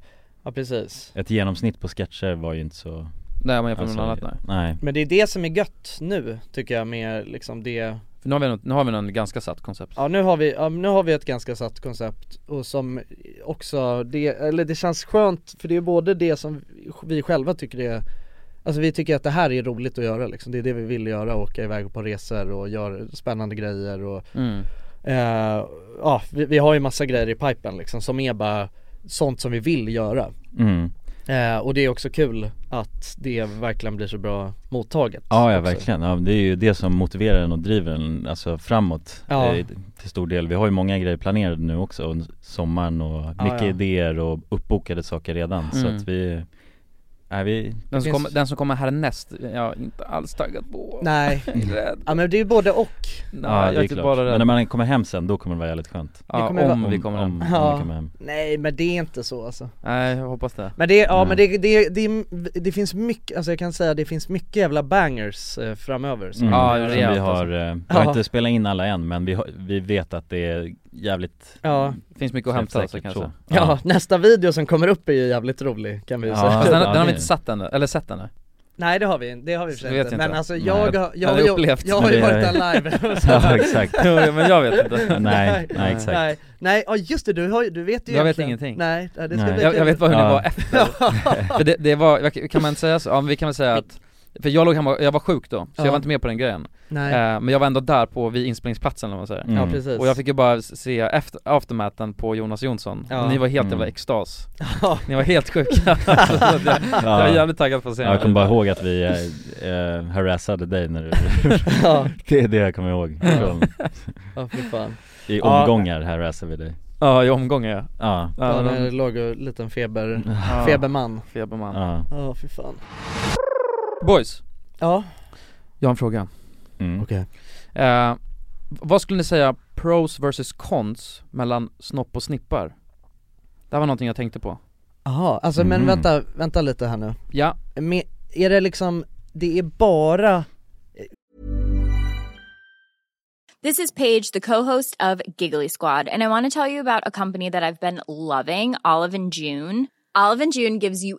Ja precis.
Ett genomsnitt på sketcher var ju inte så
Nej om man
Alltså,
jämför med något annat nej.
nej
Men det är det som är gött nu tycker jag med liksom det,
För nu har vi, något, nu har vi en ganska satt koncept.
ja nu har vi, ja, nu har vi ett ganska satt koncept och som också, det, eller det känns skönt för det är både det som vi själva tycker är Alltså vi tycker att det här är roligt att göra liksom, det är det vi vill göra, åka iväg på resor och göra spännande grejer och
Mm.
eh, ja vi, vi har ju massa grejer i pipen liksom som är bara sånt som vi vill göra
mm.
eh, och det är också kul att det verkligen blir så bra mottaget
Ja, ja
också.
verkligen, ja, det är ju det som motiverar en och driver en alltså framåt
Ja.
eh, till stor del Vi har ju många grejer planerade nu också, och sommaren och mycket
ja.
idéer och uppbokade saker redan så
Mm.
att vi, nej vi,
Den, som
finns-
kommer, den som kommer härnäst, jag är inte alls taggad på.
Nej,
Jag är rädd.
ja men det är ju både och
Nej,
ja,
jag
det
är
är
typ
klart.
bara
Men
rädd.
när man kommer hem sen, då kommer det vara jävligt skönt
ja,
kommer
om
Om-
vi kommer
om, om
hem.
Ja.
vi kommer hem
Nej men det är inte så alltså
Nej jag hoppas det.
Men det, ja
Nej.
men det, det, det, det finns mycket, alltså jag kan säga det finns mycket jävla bangers eh, framöver som
Mm.
Ja,
Som
rejält
vi har,
alltså.
eh, vi har
Ja.
inte spelat in alla än men vi, har, vi vet att det är jävligt
ja.
Finns mycket att hämta alltså
träffsäkert
kanske.
så.
Ja.
Ja. nästa video som kommer upp är ju jävligt rolig kan vi ju
Ja.
säga
Fast den,
Ja,
den har vi
det-
inte satt ännu, eller sett ännu.
Nej det har vi, det har vi i och för sig
Vet
inte.
inte.
men alltså
Nej.
jag, har- jag, har
Hade
ju-
upplevt,
jag har ju
men det-
varit där live
ja exakt
Jo, men jag vet inte.
Nej, nej exakt
Nej, nej, ja just det, du, har, ju- du vet ju
Jag vet
egentligen.
ingenting.
Nej, ja, det ska
Nej.
bli
Jag, jag
kul.
vet bara hur ni
Ja.
var efter. För det, det var, kan man inte säga så? Ja, men vi kan väl säga att för jag låg hemma, jag var sjuk då, så
Ja.
jag var inte med på den grejen.
Nej,
Eh, men jag var ändå där på, vid inspelningsplatsen eller vad man säger.
Mm.
ja precis
Och jag fick ju bara se efter, aftermaten på Jonas Jonsson,
Ja.
och ni var helt
Mm.
jävla extas
Ja.
Ni var helt sjuka alltså, så att jag, jag är jävligt taggad på att se
Ja, jag
den.
kommer bara ihåg att vi eh, eh, harassade dig när du
ja,
Det är det jag kommer ihåg från,
ja för fan
I
Ja.
omgångar harassade vi dig
Ja, i omgångar ja.
Ja,
Ja,
Ja,
han är
de-
låg och liten feber,
ja.
feberman
Feberman.
ja.
Ja fy fan
Boys,
Ja
jag har en fråga.
Mm.
Okej
Eh, vad skulle ni säga pros versus cons mellan snopp och snippar? Det här var någonting jag tänkte på.
Jaha, alltså men
Mhm.
vänta, vänta lite här nu
Ja,
Men Är det liksom, det är bara
This is Paige, the co-host of Giggly Squad, and I want to tell you about a company that I've been loving, Olive and June. Olive and June gives you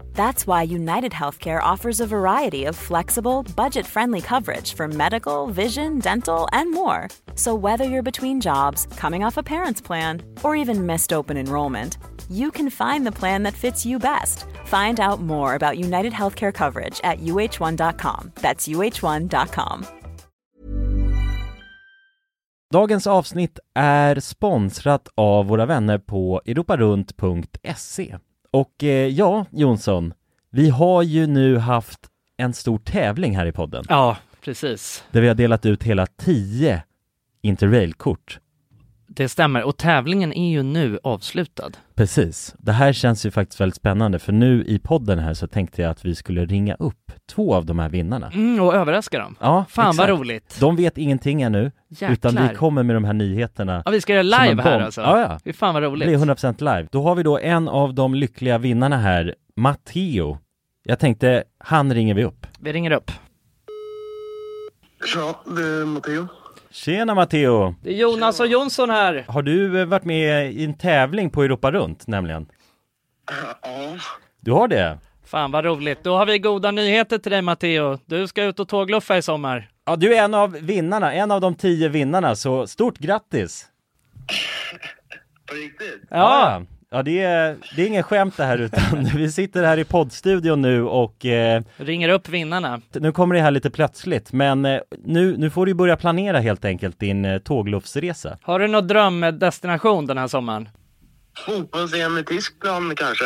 That's why United Healthcare offers a variety of flexible, budget friendly coverage for medical, vision, dental, and more. So, whether you're between jobs, coming off a parent's plan, or even missed open enrollment, you can find the plan that fits you best. Find out more about United Healthcare coverage at uh1.com. That's uh1.com.
Dagens avsnitt är sponsrat av våra vänner på europarunt.se. Och eh, ja, Jonsson, vi har ju nu haft en stor tävling här i podden
Ja, precis.
där vi har delat ut hela 10 Interrail-kort.
Det stämmer. Och tävlingen är ju nu avslutad.
Precis. Det här känns ju faktiskt väldigt spännande för nu i podden här så tänkte jag att vi skulle ringa upp två av de här vinnarna.
Mm, och överraska dem.
Ja,
Fan vad
exakt.
roligt.
De vet ingenting ännu,
Jäklar.
utan vi kommer med de här nyheterna
Ja, vi ska göra
som en
live här
bomb.
alltså.
Ja, ja.
Fy fan vad
Det blir
roligt.
100% live. Då har vi då en av de lyckliga vinnarna här, Matteo. Jag tänkte, han ringer vi upp.
Vi ringer upp.
Ja, det är Matteo.
Tjena Matteo!
Det är Jonas och Jonsson här.
Har du eh, varit med i en tävling på Europa runt nämligen?
Ja.
Du har det?
Fan vad roligt. Då har vi goda nyheter till dig Matteo. Du ska ut och tågluffa i sommar.
Ja, du är en av vinnarna, en av de tio vinnarna, så stort grattis!
På riktigt?
Ja! Ja, det är, det är ingen skämt det här utan vi sitter här i poddstudion nu och eh,
Ringer upp vinnarna.
nu kommer det här lite plötsligt men eh, nu, nu får du börja planera helt enkelt din eh, tågluffsresa.
Har du någon drömdestination den här sommaren?
Fotbolls-EM i Tyskland kanske?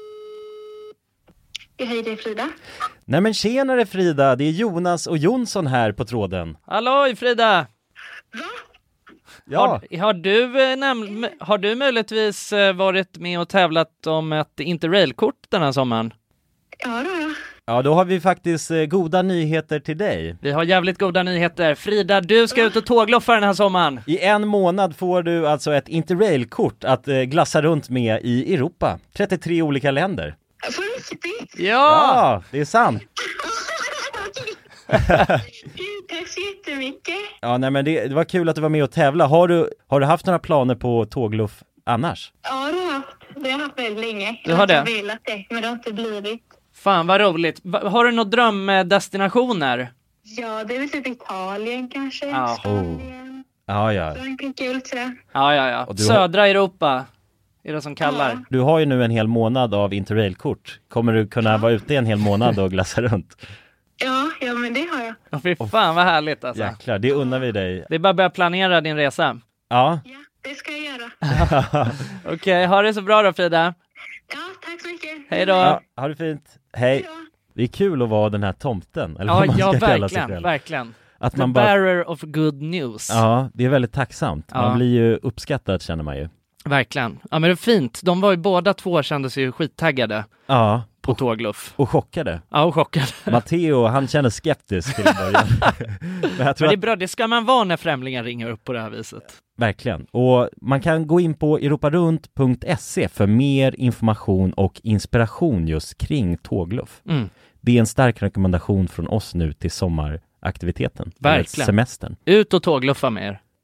Hej, det är Frida.
Nej men tjenare Frida, det är Jonas och Jonsson här på tråden.
Halloj Frida!
Ja,
Har, har, du, eh, näm- m- har du möjligtvis eh, varit med och tävlat om ett interrailkort den här sommaren?
Ja, då, ja.
ja då har vi faktiskt eh, goda nyheter till dig.
Vi har jävligt goda nyheter. Frida, du ska ut och tågloffa den här sommaren.
I en månad får du alltså ett interrailkort att eh, glassa runt med i Europa. 33 olika länder.
På riktigt?
Ah!
Ja, det är sant.
Tack så jättemycket.
Ja, nej men det, det var kul att du var med och tävla. Har du, har du haft några planer på tågluff annars?
Ja, det har jag haft. Det har jag haft väldigt länge.
Du har det?
Jag har velat det, men det har inte blivit.
Fan vad roligt. Va- har du några drömdestinationer?
Ja, det är väl typ Italien kanske.
Ja.
Oh.
Spanien.
Ja, ja.
Frankrike, Ultra.
Ja, ja, ja.
Och du har-
Södra Europa är det som kallar.
Du har ju nu en hel månad av interrailkort. Kommer du kunna vara ute en hel månad och glassa runt?
Ja, ja men det har jag.
Åh, Fy fan vad härligt alltså.
Jäklar, det unnar vi dig.
Det är bara att börja planera din resa.
Ja.
Det ska jag göra.
Okej, ha det så bra då Frida.
Tack så mycket.
Hej då.
Ja, ha det fint. Hej. Det är kul att vara den här tomten, eller
Ja,
vad man
ja
ska kalla sig
verkligen,
själv.
verkligen.
Att
The
man bara-
bearer of good news.
Ja, det är väldigt tacksamt.
Ja.
Man blir ju uppskattad känner man ju.
Verkligen. Ja men det är fint. De var ju båda två kände sig ju skittaggade.
Ja.
På tågluff.
Och chockade.
Ja, och chockad.
Matteo, han känner skeptisk till en början. Men jag tror
Men det är
att,
bra, det ska man vara när främlingar ringer upp på det här viset.
verkligen. Och man kan gå in på europarunt.se för mer information och inspiration just kring tågluff.
Mm.
Det är en stark rekommendation från oss nu till sommaraktiviteten. eller
Verkligen.
Semestern.
Ut och tågluffa med er.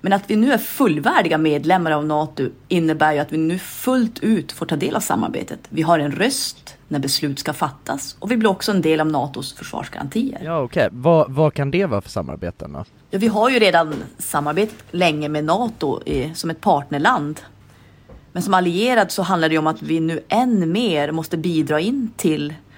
Men att vi nu är fullvärdiga medlemmar av NATO innebär ju att vi nu fullt ut får ta del av samarbetet. Vi har en röst när beslut ska fattas och vi blir också en del av NATOs försvarsgarantier.
Ja okej, vad, vad kan det vara för samarbeten då?
Ja, vi har ju redan samarbetat länge med NATO eh, som ett partnerland. Men som allierad så handlar det ju om att vi nu än mer måste bidra in till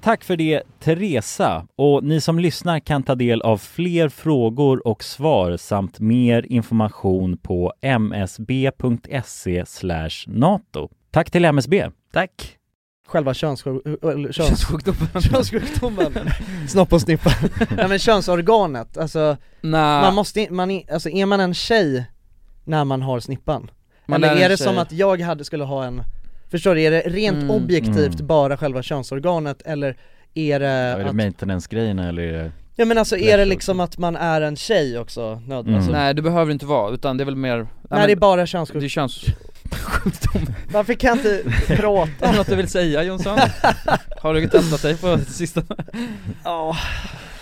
Tack för det Teresa och ni som lyssnar kan ta del av fler frågor och svar samt mer information på msb.se E nato. Tack till MSB.
Tack. Själva könssjukdomen.
Könssjukdomen.
Könssjukdomen. Snopp och snippa. Nej men könsorganet, alltså
Nej.
man måste, i- man, i- alltså är man en tjej när man har snippan?
Man är
Eller
en
är det
tjej.
som att jag hade, skulle ha en, förstår du, är det rent
Mm.
objektivt
Mm.
bara själva könsorganet eller är det,
Är det
att,
maintenance-grejerna eller? är det-
ja men alltså är det liksom att man är en tjej också? Nöd,
Mm.
alltså,
Nej det behöver inte vara, utan det är väl mer... Nej,
det är bara könssjukdom.
Det är köns...
Varför kan jag inte prata?
Är det något du vill säga Jonsson? Har du testat dig på sistone?
Ja.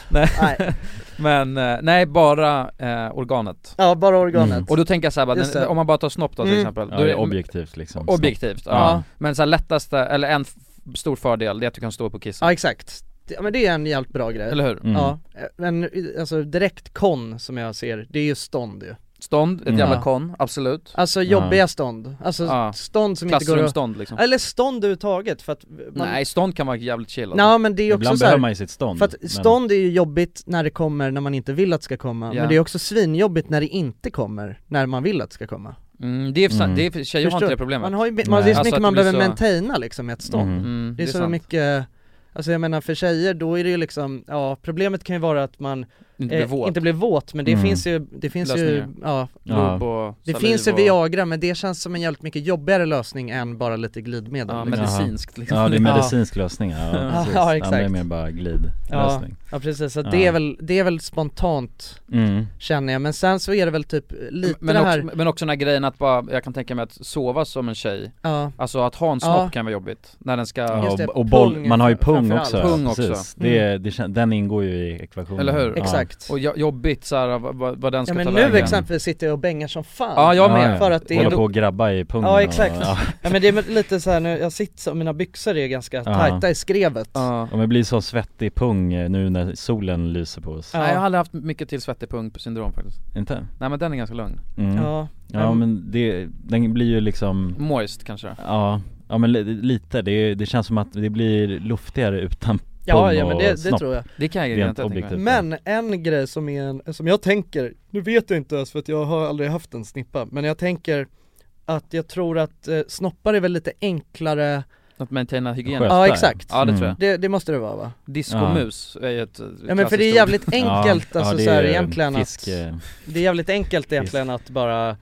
Nej.
Nej.
Men eh, nej, bara eh, organet.
Ja, bara organet.
Och då tänker jag såhär, bara,
Just
den-
det.
om man bara tar snopp då till
Mm.
exempel.
Ja,
då
det är objektivt, liksom.
Objektivt,
Snopp.
ja.
Ja.
Men så här, lättaste, eller en f- stor fördel, det är att du kan stå upp och kissa.
Ja exakt, Det- ja men det är en jävligt bra grej
Eller hur? Mm.
Ja, men alltså direkt kon som jag ser, det är ju stånd ju
Stånd, ett jävla
Ja.
kon, absolut.
Alltså jobbiga stånd, alltså
Ja.
stånd som inte går att...
Klassrumsstånd, liksom.
Eller stånd överhuvudtaget för att man...
Nej, stånd kan vara jävligt chill alltså.
Nej men det är ju också
Ibland
så här,
behöver man ju sitt stånd,
För att
men-
stånd är ju jobbigt när det kommer när man inte vill att det ska komma,
Ja.
men det är också svinjobbigt när det inte kommer när man vill att det ska komma
Mm, det är, mm.
Mm.
det är, tjejer har
Förstår
inte
du?
det problemet
Man har ju, man, det är så
Alltså
mycket
att
man
det blir
behöver
så-
maintaina liksom i ett stånd.
Mm. Mm,
det är
det är
så
sant.
mycket, alltså jag menar för tjejer då är det ju liksom, ja problemet kan ju vara att man
Inte blir våt.
Eh, inte blir våt men det
Mm.
finns ju, det finns ju,
Lösningar.
ja,
Ja.
blod
och
Det
saliv
finns ju
och-
Viagra men det känns som en jävligt mycket jobbigare lösning än bara lite glidmedel
Ja,
liksom.
medicinskt, liksom.
Ja det är medicinsk lösning ja,
Ja,
precis.
ja,
Det andra är
exakt.
mer bara
Ja,
glidlösning
ja precis, så
Ja.
det är väl, det är väl spontant
Mm.
känner jag, men sen så är det väl typ lite
men,
det
också,
här
men också den här grejen att bara, jag kan tänka mig att sova som en tjej
Ja.
Alltså att ha en snopp
Ja.
kan vara jobbigt, när den ska
Ja, och, och boll, man har ju pung också, ja,
Pung också. Mm.
precis. Det, är- det, kän- den ingår ju i ekvationen
Eller hur?
Ja.
Och jo- jobbigt såhär, vad, vad- vad den ska
Ja men
ta
nu
vägen
exempelvis sitter jag och bängar som fan
Ja, jag med.
För att det
Hålla
är
på och grabba i pungen
Ja exakt,
och-
ja.
ja.
men det är lite så här nu, jag sitter så, mina byxor är ganska
Ja.
tajta i skrevet
Ja.
Om jag blir så svettig pung eh, nu när solen lyser på oss
Nej jag har aldrig haft mycket till svettig pung-syndrom faktiskt
Inte?
Nej men den är ganska lugn
Mm.
Ja,
Ja,
men-
men det, den blir ju liksom
Moist kanske
Ja, ja men li, lite, det, det känns som att det blir luftigare utan pung
Ja, ja men
och
det, det
snopp.
tror jag
Det kan jag
Rent inte tänka
Typ.
mig. objektivt.
Men en grej som, är en, som jag tänker, nu vet jag inte ens för att jag har aldrig haft en snippa Men jag tänker att jag tror att eh, snoppar är väl lite enklare
Att maintaina hygien
Ja exakt,
Ja det tror jag
det, det måste det vara va?
Discomus är ju ett eh,
Mm. Ja men för det är
klassiskt
jävligt
ord.
enkelt
Ja,
alltså
det
så här,
är
egentligen
fisk, eh,
att Det är jävligt enkelt egentligen att bara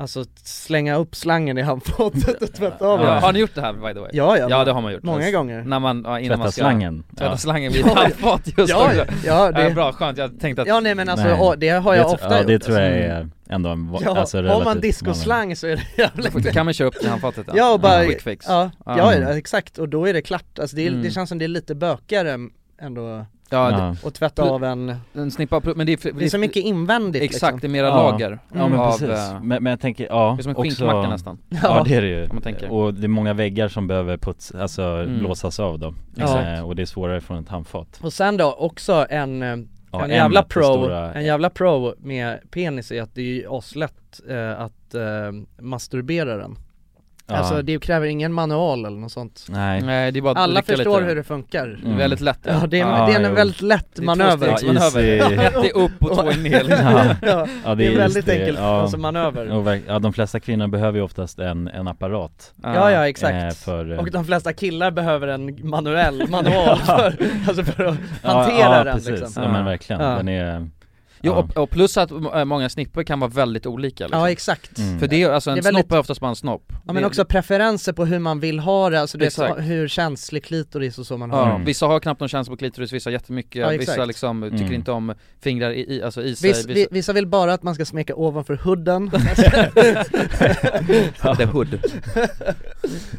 Alltså slänga upp slangen i handfatet och tvätta av
Ja.
den.
Har ni gjort det här by the way?
Ja, ja
Ja det har man gjort
Många gånger
När man, ja, innan
Tvätta
man ska
slangen.
Tvätta
Ja.
slangen vid
Ja, ja.
handfat just
Ja,
också. Äh,
ja, det-
Bra, skönt, jag tänkte att
Ja nej men alltså åh, det har jag
tr-
ofta
Ja
gjort
det tror jag
alltså.
är ändå en va-
Ja,
alltså,
har man
relativt vanlig.
diskoslang så är det jävligt
Då kan man köra upp till handfatet ja.
Ja och bara,
Quick fix.
ja,
Ja.
ja, ja exakt och då är det klart, alltså det, är,
Mm.
det känns som det är lite bökigare ändå
Ja, det-
och tvätta av en
En snippa, men det är,
Det är så mycket invändigt
Exakt,
liksom.
det är mera lager
Ja men
av,
precis,
eh,
men, men jag tänker, ja
det är som en
också-
skinkmacka nästan.
ja.
Ja,
det är det ju,
om man tänker.
och det är många väggar som behöver puts, alltså blåsas av dem
Mm. Ja.
Eh, Och det är svårare från ett handfat
Och sen då också en, eh,
Ja,
en,
en
jävla
att det
pro, Eh,
stora-
en jävla pro med penis är att det är ju aslätt eh, att eh, masturbera den
Ja.
Alltså det Mm. kräver ingen manual eller något sånt
Nej.
Nej, det är bara att
Alla
rycka
förstår
lite.
hur det funkar
Mm. Väldigt lätt, ja.
Ja det är,
Ja,
det är en
jo.
väldigt lätt
Det är
manöver
tvåstegsmanöver. Ja, is i- Ett är upp och två är ner, liksom.
ja.
Ja,
ja,
det är
just
väldigt
det.
enkelt, alltså manöver.
Och verk- Ja de flesta kvinnor behöver ju oftast en, en apparat
Ja ja
Eh,
exakt,
för, eh,
och de flesta killar behöver en manuell manual för, alltså för att
Ja,
hantera
ja,
den
precis.
liksom
Ja men verkligen,
Ja.
den är
Jo, och, och plus att eh, många snippor kan vara väldigt olika liksom.
Ja, exakt. Mm.
För det är alltså en
Det är väldigt-
snopp är oftast bara en snopp
Ja
Det-
men också preferenser på hur man vill ha det, alltså du vet,
Exakt.
hur känslig klitoris och så man har
Ja,
det.
vissa har knappt någon känsla på klitoris, vissa jättemycket,
Ja, exakt.
vissa liksom tycker
Mm.
inte om fingrar i, i, alltså i sig
Viss, vi, vissa vill bara att man ska smeka ovanför hudden
The hood.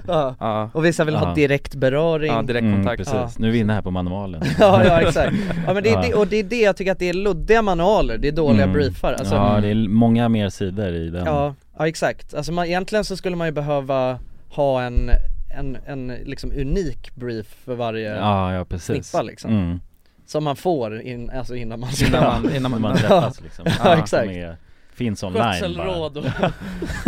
ja.
Ja.
Och vissa vill
Ja.
ha direkt beröring
Ja,
Mm, precis, nu är vi inne här på manualen
Ja, ja exakt. Ja men det är det, och det är det jag tycker att det är luddiga manualer, det är dåliga
Mm.
briefar alltså,
Ja det är många mer sidor i den
ja, ja, exakt. Alltså man, egentligen så skulle man ju behöva ha en, en, en liksom unik brief för varje
Ja, ja, precis.
snippa liksom
Mm.
Som man får in, alltså innan man
Innan man- innan man- träffas, liksom.
Ja,
Ja, som
exakt
är- finns online bara.
Skötselråd och...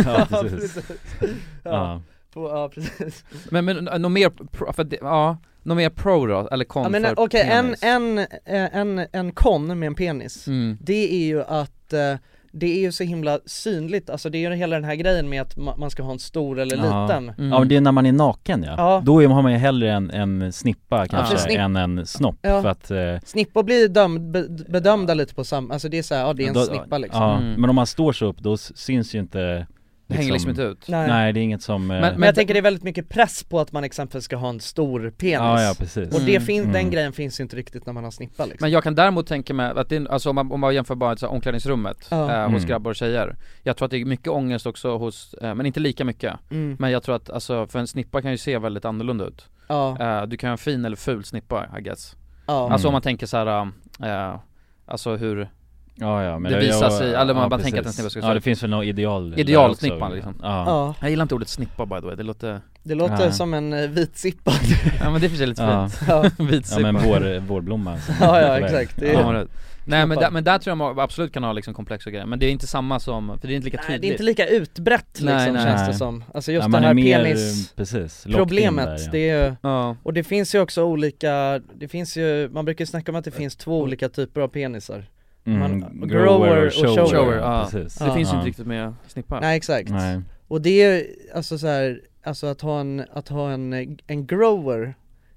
Ja, precis.
Ja,
Ja.
på, ja precis
Men, men eh, något mer, pro, för det, ja, något mer pro då, eller kon
Ja, men eh,
för
okej, en,
penis?
en, eh, en, en kon med en penis,
Mm.
det är ju att eh, det är ju så himla synligt, alltså det är ju hela den här grejen med att ma- man ska ha en stor eller liten
Ja men det är när man är naken ja,
Ja.
då är, har man ju hellre en, en snippa kanske
Snipp-
än en snopp
Ja.
för att eh,
Snippor blir ju dömd, be, bedömda lite på samma, alltså det är såhär, ja det är en
då-
snippa liksom
ja,
Mm.
men om man står så upp då s- syns ju inte
Det hänger liksom inte ut.
Nej,
Nej.
det är inget som eh,
Men, jag tänker det är väldigt mycket press på att man exempelvis ska ha en stor penis
Ja, ja, precis.
Och det
Mm.
fin- den
Mm.
grejen finns ju inte riktigt när man har snippa liksom
Men jag kan däremot tänka mig att det, är- alltså om man, om man jämför bara så här, omklädningsrummet
Ja.
eh, hos
Mm.
grabbar och tjejer Jag tror att det är mycket ångest också hos, eh, men inte lika mycket
Mm.
Men jag tror att, alltså för en snippa kan ju se väldigt annorlunda ut
Ja.
eh, Du kan ha en fin eller ful snippa I guess
Ja.
Alltså om
Mm.
man tänker så här, eh, alltså hur
Ja, ja, men
det
jag-
visar
jag-
sig, eller man
ja,
bara tänker att en
precis.
snippa ska se
Ja, det
ut.
finns väl något ideal där
Idealsnippan
också.
liksom
Ja.
Ja.
Jag gillar inte ordet snippa by the way, det låter
Det låter
Ja.
som en eh, vit sippa
Ja men det är för sig lite
Ja.
fint
Ja.
Vitsippa.
Ja, men vår- vårblomma.
Ja, ja, exakt. Det är-
Ja, men det- Nej men
Knappar.
där, men där tror jag man absolut kan ha liksom komplexa grejer, men det är inte samma som, för det är inte lika
Nej,
tydligt
det är inte lika utbrett liksom
Nej, nej.
känns det
Nej.
som Alltså just
Ja,
det
man är
här
mer, eh,
penis
precis, locked in
problemet,
där, ja.
det är ju,
Ja.
och det finns ju också olika, det finns ju, man brukar ju snacka om att det finns två olika typer av penisar
Mm,
Man-
grower och shower, ja, precis.
Det finns ju inte riktigt med snippar.
Nej exakt.
Nej.
Och det är ju, alltså så här, alltså att ha en, att ha en, eh, en grower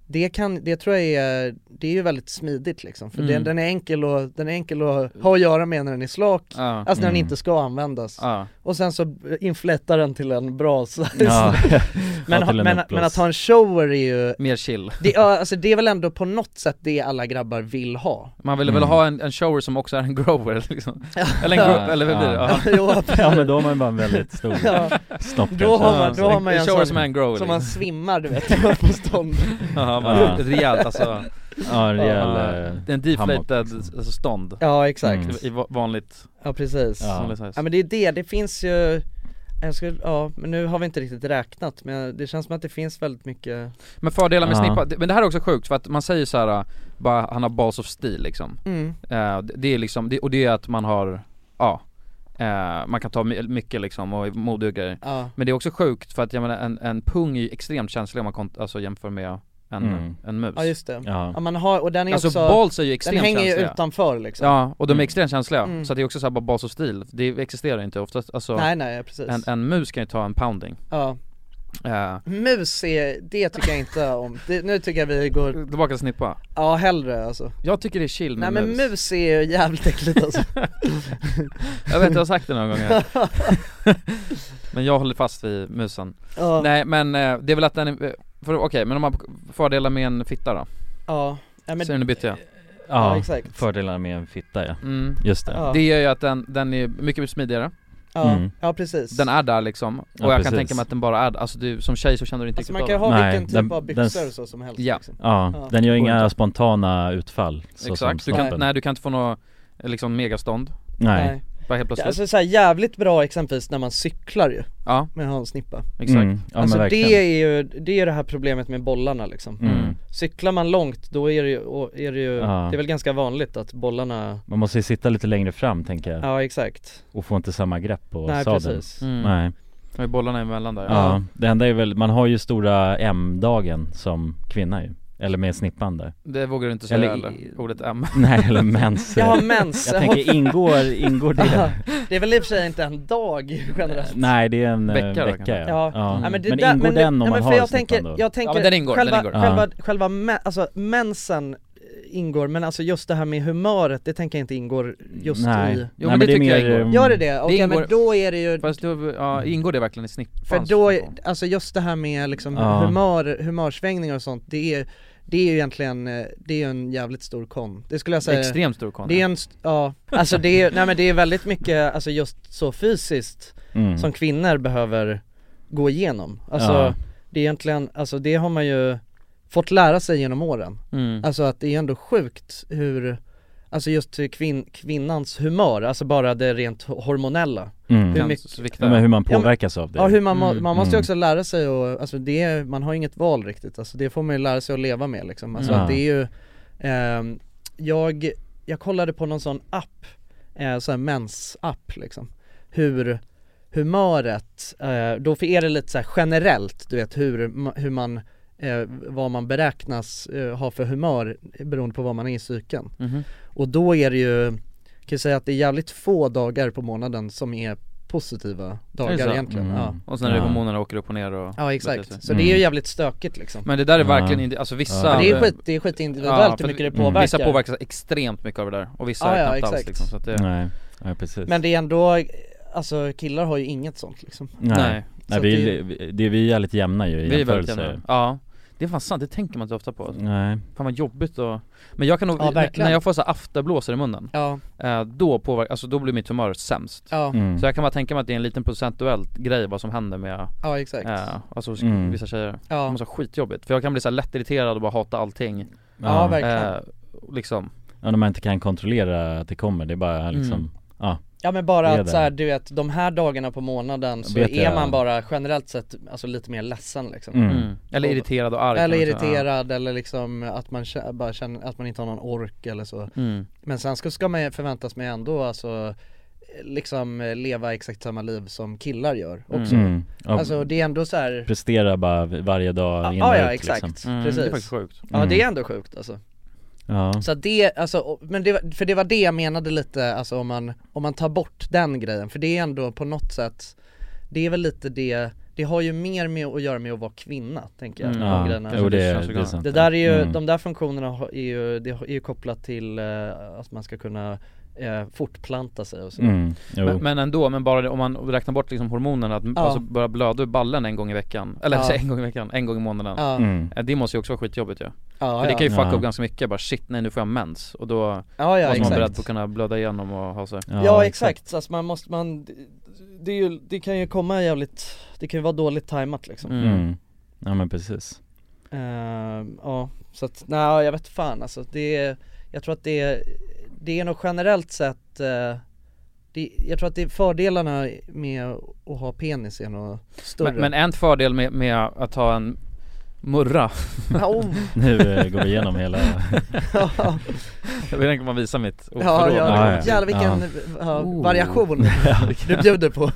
det kan, det tror jag är, det är ju väldigt smidigt liksom för
Mm.
den, den är enkel och, den är enkel att ha att göra med när den är slak,
Ja.
alltså när den
Mm.
inte ska användas
Ja.
och sen så inflättar den till en brasa
Ja.
men,
Ja, till en
men,
uppblås.
men att ha en shower är ju
Mer chill.
det, ja, alltså det är väl ändå på något sätt det alla grabbar vill ha
Man vill väl ha en, en shower som också är en grower liksom. Eller en grupp, eller vad blir
Ja.
det?
Jo, absolut.
Ja, men då har man bara en väldigt stor snopp
Då har
kanske.
man, då har man ju en
En shower
sån
som är en grower,
som
liksom.
man svimmar du vet, på stånd
Ja, man, ett rejält alltså
Ja, en rejäl, eh,
En deflated alltså, stånd
Ja, exakt.
I, i va- vanligt
Ja precis,
Vanlig
ja.
size.
men det är det, det finns ju jag skulle, ja men nu har vi inte riktigt räknat men det känns som att det finns väldigt mycket
Men fördelar med
Ja.
snippa, det- men det här är också sjukt för att man säger så här, bara han har balls of steel liksom
Mm.
Eh, det- Det är liksom, det, och det är att man har, ja eh, man kan ta my- mycket liksom och är modig och grejer.
Ja.
Men det är också sjukt för att jag menar en, en pung är ju extremt känslig om man kont- alltså, jämför med en,
Mm.
en mus
Ja just det, ja. man har, och den är
Alltså
också
balls är ju extremt
Den hänger ju
känsliga.
utanför liksom
Ja, och de är
Mm.
extremt känsliga,
Mm.
så att det är också såhär bara bas och stil, det existerar ju inte oftast, alltså
Nej, nej, precis.
En, en mus kan ju ta en pounding
Ja.
Eh,
Mus är, det tycker jag inte om, det, nu tycker jag vi går
Tillbaka till snippa
Ja hellre alltså
Jag tycker det är chill
Nej
med
men
mus.
mus är ju jävligt äckligt alltså
Jag vet, jag har sagt det några gånger Men jag håller fast vid musen
Ja.
Nej men eh, det är väl att den, är- för okej men om man fördelar med en fitta då?
Ja, ja men
Ser du nu bytte jag?
Ja,
Ja,
exakt.
fördelarna med en fitta ja.
Mm.
Just det.
Ja.
Det gör ju att den, den är mycket smidigare
Ja,
Mm.
ja precis
Den är där liksom, och
Ja,
jag kan
precis.
tänka mig att den bara är alltså du, som tjej så känner du inte
Alltså,
riktigt
man kan
av
ha
den.
vilken typ av byxor och så som helst,
Ja,
liksom.
Ja,
Ja.
den gör
Går
inga spontana utfall så
exakt,
som
du kan, Mm,
snoppen.
nej du kan inte få något eh, liksom megastånd
Nej.
Bara helt plötsligt
Alltså såhär jävligt bra exempelvis när man cyklar ju
Ja.
Med handsnippa
Exakt. Mm, ja, men
Alltså
verkligen.
det är ju, det är ju det här problemet med bollarna liksom
Mm.
Cyklar man långt då är det ju, och är det ju,
Ja.
det är väl ganska vanligt att bollarna
Man måste ju sitta lite längre fram tänker jag
Ja exakt
Och få inte samma grepp på
Nej,
sadeln
precis.
Mm.
Nej
Med bollarna emellan där
ja. det enda är väl, man har ju stora M-dagen som kvinna ju Eller med snippan där
Det vågar du inte säga
Eller-
eller, ordet M
Nej eller mens
Jaha mens
Jag tänker ingår, ingår
Ja,
det?
Det är väl i och för sig inte en dag generellt
Nej det är en eh,
Vecka då,
vecka
kanske.
ja,
Ja,
ja.
men, det
men
där,
ingår
men,
den om
ja,
man
men
har
för jag
snippan
tänker,
då?
jag tänker
Ja, men den ingår,
själva,
den ingår.
själva,
Ja.
själva mä- alltså mensen eh, ingår, men alltså just det här med humöret, det tänker jag inte ingår just
Nej.
i
Jo, men Nej, men det det tycker är jag mer, mm, ingår.
Gör det det? Okej
ingår-
men då är det ju
Fast då, ja,
Mm.
ingår det verkligen i snippan?
För då, är- alltså just det här med liksom
Ja.
humör, humörsvängningar och sånt, det är det är ju egentligen, eh, det är ju en jävligt stor kon. Det skulle jag säga
Extremt stor kon,
Det är
ja.
en, st- ja, alltså det är, nej men det är väldigt mycket, alltså just så fysiskt
Mm.
som kvinnor behöver gå igenom. Alltså
Ja.
det är egentligen, alltså det har man ju fått lära sig genom åren.
Mm.
Alltså att det är ändå sjukt hur, alltså just hur kvin, kvinnans humör, alltså bara det rent hormonella.
Mm.
Hur
Kan
mycket,
Ja, men hur man
Ja, men-
påverkas av det.
Ja hur man, må-
Mm.
man måste ju
Mm.
också lära sig och, alltså det, är- man har inget val riktigt, alltså det får man ju lära sig att leva med liksom. Alltså
Mm.
att det är ju, ehm, jag, jag kollade på någon sån app, eh, sån här mens-app liksom, hur humöret, eh, då är det lite så här generellt, du vet hur, ma- hur man eh, vad man beräknas eh, ha för humör beroende på vad man är i cykeln.
Mhm.
Och då är det ju, kan jag säga att det är jävligt få dagar på månaden som är positiva dagar
Mm.
egentligen. Ja.
Och sen är det
Ja.
hormonerna åker upp och ner och
Ja
beter sig.
exakt, så det är ju jävligt stökigt liksom
Men det där är verkligen inte, alltså vissa
Men Det är skit, det är skitindividuellt
för
hur mycket det
vi-
påverkar
Vissa påverkas extremt mycket av det där och vissa
Ja,
är
ja,
knappt alls
exakt.
liksom, så att det,
Nej, ja, precis
Men det är ändå, alltså killar har ju inget sånt liksom
Nej,
Nej.
Nej.
Så
vi, vi, det, vi är lite jämna ju i
Vi är
jämförelse
verkligen Ja, det är fan sant, det tänker man inte ofta på
Nej
Fan vad jobbigt och Men jag kan nog,
Ja, verkligen.
när jag får så här afterblåsor i munnen
Ja.
eh, Då påverkar, alltså då blir mitt humör sämst
Ja. Mm.
Så jag kan bara tänka mig att det är en liten procentuell grej vad som händer med
Ja, exakt.
eh, Alltså hos
Mm.
vissa tjejer
Ja.
Det måste vara skitjobbigt, för jag kan bli så här lättirriterad och bara hata allting
Ja,
Eh,
verkligen.
Liksom
Ja när man inte kan kontrollera att det kommer, det är bara liksom,
Mm.
ja
Ja men bara
det är
att
det.
så här, du vet, de här dagarna på månaden så
Vet
är
jag.
man bara generellt sett alltså lite mer ledsen liksom
Mm. Mm.
Eller irriterad och arg
Eller
kan man säga.
irriterad eller liksom att man kä- bara känner att man inte har någon ork eller så
Mm.
Men sen ska, ska man ju- förväntas med ändå alltså liksom eh, leva exakt samma liv som killar gör också
Mm. Ja.
Alltså det är ändå så här
Prestera bara v- varje dag in
Ja
och
ja
ut,
Mm.
exakt,
liksom.
precis Ja det är ändå sjukt alltså
Ja.
Så att det, alltså, och- men det, var- för det var det jag menade lite, alltså om man, om man tar bort den grejen, för det är ändå på något sätt, det är väl lite det, det har ju mer med att göra med att vara kvinna, tänker jag.
Mm,
de
ja.
grejerna.
Jo, det är- det är sant.
Det där är ju,
Mm.
de där funktionerna har- är ju, det är ju kopplat till eh, att man ska kunna eh, fortplanta sig och så.
Mm, jo.
men, men ändå, men bara det- om man räknar bort liksom hormonerna, att
Ja.
alltså börja blöda ur ballen en gång i veckan, eller
Ja.
alltså en gång i veckan, en gång i månaden
Ja. Mm.
Eh, Det måste ju också vara skitjobbigt ju
Ja,
För det
ja.
kan ju fucka
Ja.
upp ganska mycket, bara shit nej nu får jag mens och då
ja,
måste man
exakt.
vara beredd på att kunna blöda igenom och ha sig
Ja, exakt, Alltså man måste, man, det, är ju, det kan ju komma jävligt, det kan ju vara dåligt tajmat liksom
Mm. Mm. Ja men precis.
Ehm, ja, så att, nej jag vet fan alltså det är, jag tror att det är, det är nog generellt sett eh, det, jag tror att det är fördelarna med att ha penis är nog större
men, men en fördel med, med att ha en murra
Oh.
Nu eh, går vi igenom hela
Ja.
Jag vet inte om man visar mitt
Ja,
oförråd.
Oh, ja, jävlar vilken ja, variation du bjuder på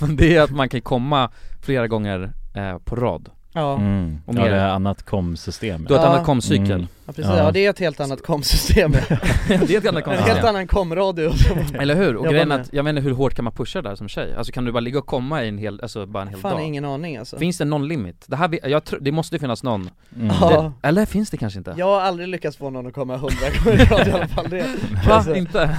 Men det är att man kan komma flera gånger eh, på rad
Ja.
Mm.
Och
Ja
mer.
det är annat Mm. komsystem
Du har ett annat komcykel
Ja precis, ja. det är ett helt annat komsystem
det är ett annat
En
komsystem.
Mm. helt annan komradio som-
Eller hur? Och
jobbar
grejen är
med.
att, jag menar hur hårt kan man pusha där som tjej? Alltså kan du bara ligga och komma i en hel, alltså bara en hel
Fan,
dag?
ingen aning, alltså.
Finns det någon limit? Det här, vi- jag tror, det måste ju finnas någon
Mm.
det,
Ja.
Eller finns det kanske inte?
Jag har aldrig lyckats få någon att komma 100 gånger i rad i alla fall det
Va?
Alltså.
Inte?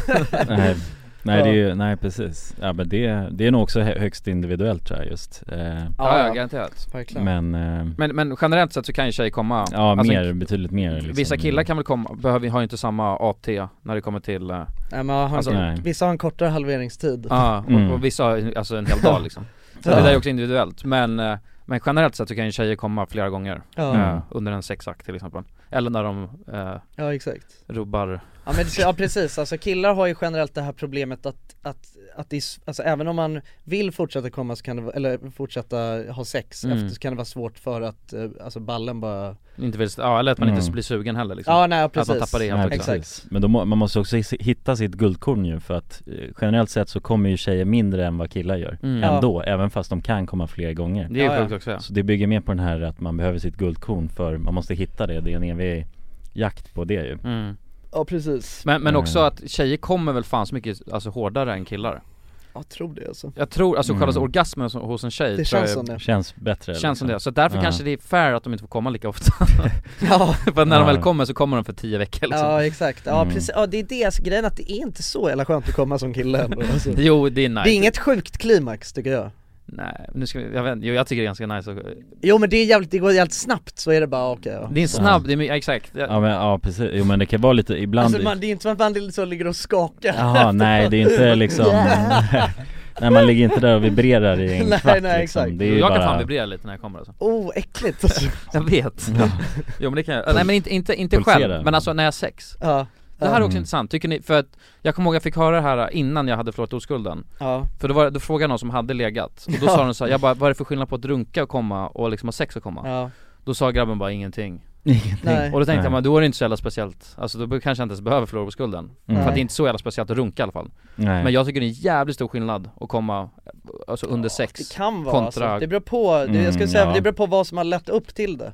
Nej, nej det är
Ja.
ju, nej precis. Ja men det, det är nog också hö- högst individuellt tror jag just eh,
Ja, ja, garanterat.
Verkligen.
Men, eh,
Men, men generellt sett så kan ju tjejer komma
ja
alltså,
mer, betydligt mer liksom.
Vissa killar kan väl komma, behöver, har ju inte samma AT när det kommer till eh,
Nej men har
alltså,
en, vissa har en kortare halveringstid
Ja, och,
Mm.
och vissa har ju- alltså en hel dag liksom Så
Ja.
det där är också individuellt, men, eh, men generellt sett så kan ju tjejer komma flera gånger
Ja.
eh, under en sexakt till exempel Eller när de eh,
Ja, exakt.
rubbar
Ja men det- ja, precis, alltså killar har ju generellt det här problemet att, att, att det är, s- alltså även om man vill fortsätta komma så kan det, vara- eller fortsätta ha sex
Mm.
efter så kan det vara svårt för att, eh, alltså ballen bara
inte vill, ja, eller att man
Mm.
inte blir sugen heller liksom.
Ja, nej,
Att man
precis.
tappar det
Nej,
helt också.
precis. Men då må, man måste också his- hitta sitt guldkorn ju för att eh, generellt sett så kommer ju tjejer mindre än vad killar gör
Mm.
ändå, även fast de kan komma fler gånger
Det är ju Ja, sjukt ja. också, ja.
Så det bygger mer på den här att man behöver sitt guldkorn för man måste hitta det, det är en evig jakt på det ju
Mm.
Ja precis
Men, men
Mm.
också att tjejer kommer väl fan så mycket alltså, hårdare än killar
Jag tror det alltså
Jag tror, alltså själva
Mm.
orgasmen som- hos en tjej
Det
tror
känns som
jag,
det.
Känns bättre,
Känns
liksom.
som det, så därför
Ja.
kanske det är fair att de inte får komma lika ofta För när de väl kommer så kommer de för tio veckor liksom.
Ja exakt, ja precis, ja det är det, alltså, grejen är att det är inte så jävla skönt att komma som kille ändå, alltså.
Jo, det är nice.
Det är inget sjukt klimax tycker jag
Nej, nu ska vi, jag vet inte, jo, jag tycker det är ganska nice att-
Jo men det är jävligt, det går jävligt snabbt så är det bara okej ja.
Det är en snabb, det är, ja, exakt
Ja men ja precis, jo men det kan vara lite ibland
Alltså man, det är inte som att man liksom ligger och skakar
Jaha, nej det är inte liksom Nej man ligger inte där och vibrerar i en
Nej,
kvart
nej,
liksom.
exakt.
det är ju
Jag
bara...
kan fan vibrera lite när jag kommer alltså.
Oh, äckligt alltså.
Jag vet Jo men det kan jag, nej men inte, inte, inte
Pulsera.
själv, men alltså när jag har sex
Ja.
Det här är också
Mm.
intressant, tycker ni, för att jag kommer ihåg jag fick höra det här innan jag hade förlorat oskulden
Ja.
För då, var, då frågade någon som hade legat, och då sa
Ja.
de så här, jag bara vad är det för skillnad på att runka och komma och liksom ha sex och komma?
Ja.
Då sa grabben bara ingenting
Ingenting.
Nej.
Och då tänkte
Nej.
jag men då är det inte så jävla speciellt, alltså då be- kanske jag inte ens behöver förlora på skulden
Mm.
För att det är inte så jävla speciellt att runka i alla fall
Nej.
Men jag tycker det är en jävligt stor skillnad att komma, alltså under sex
Det kan vara
kontra... Mm,
alltså. det beror på, det, jag skulle säga,
ja.
det beror på vad som har lett upp till det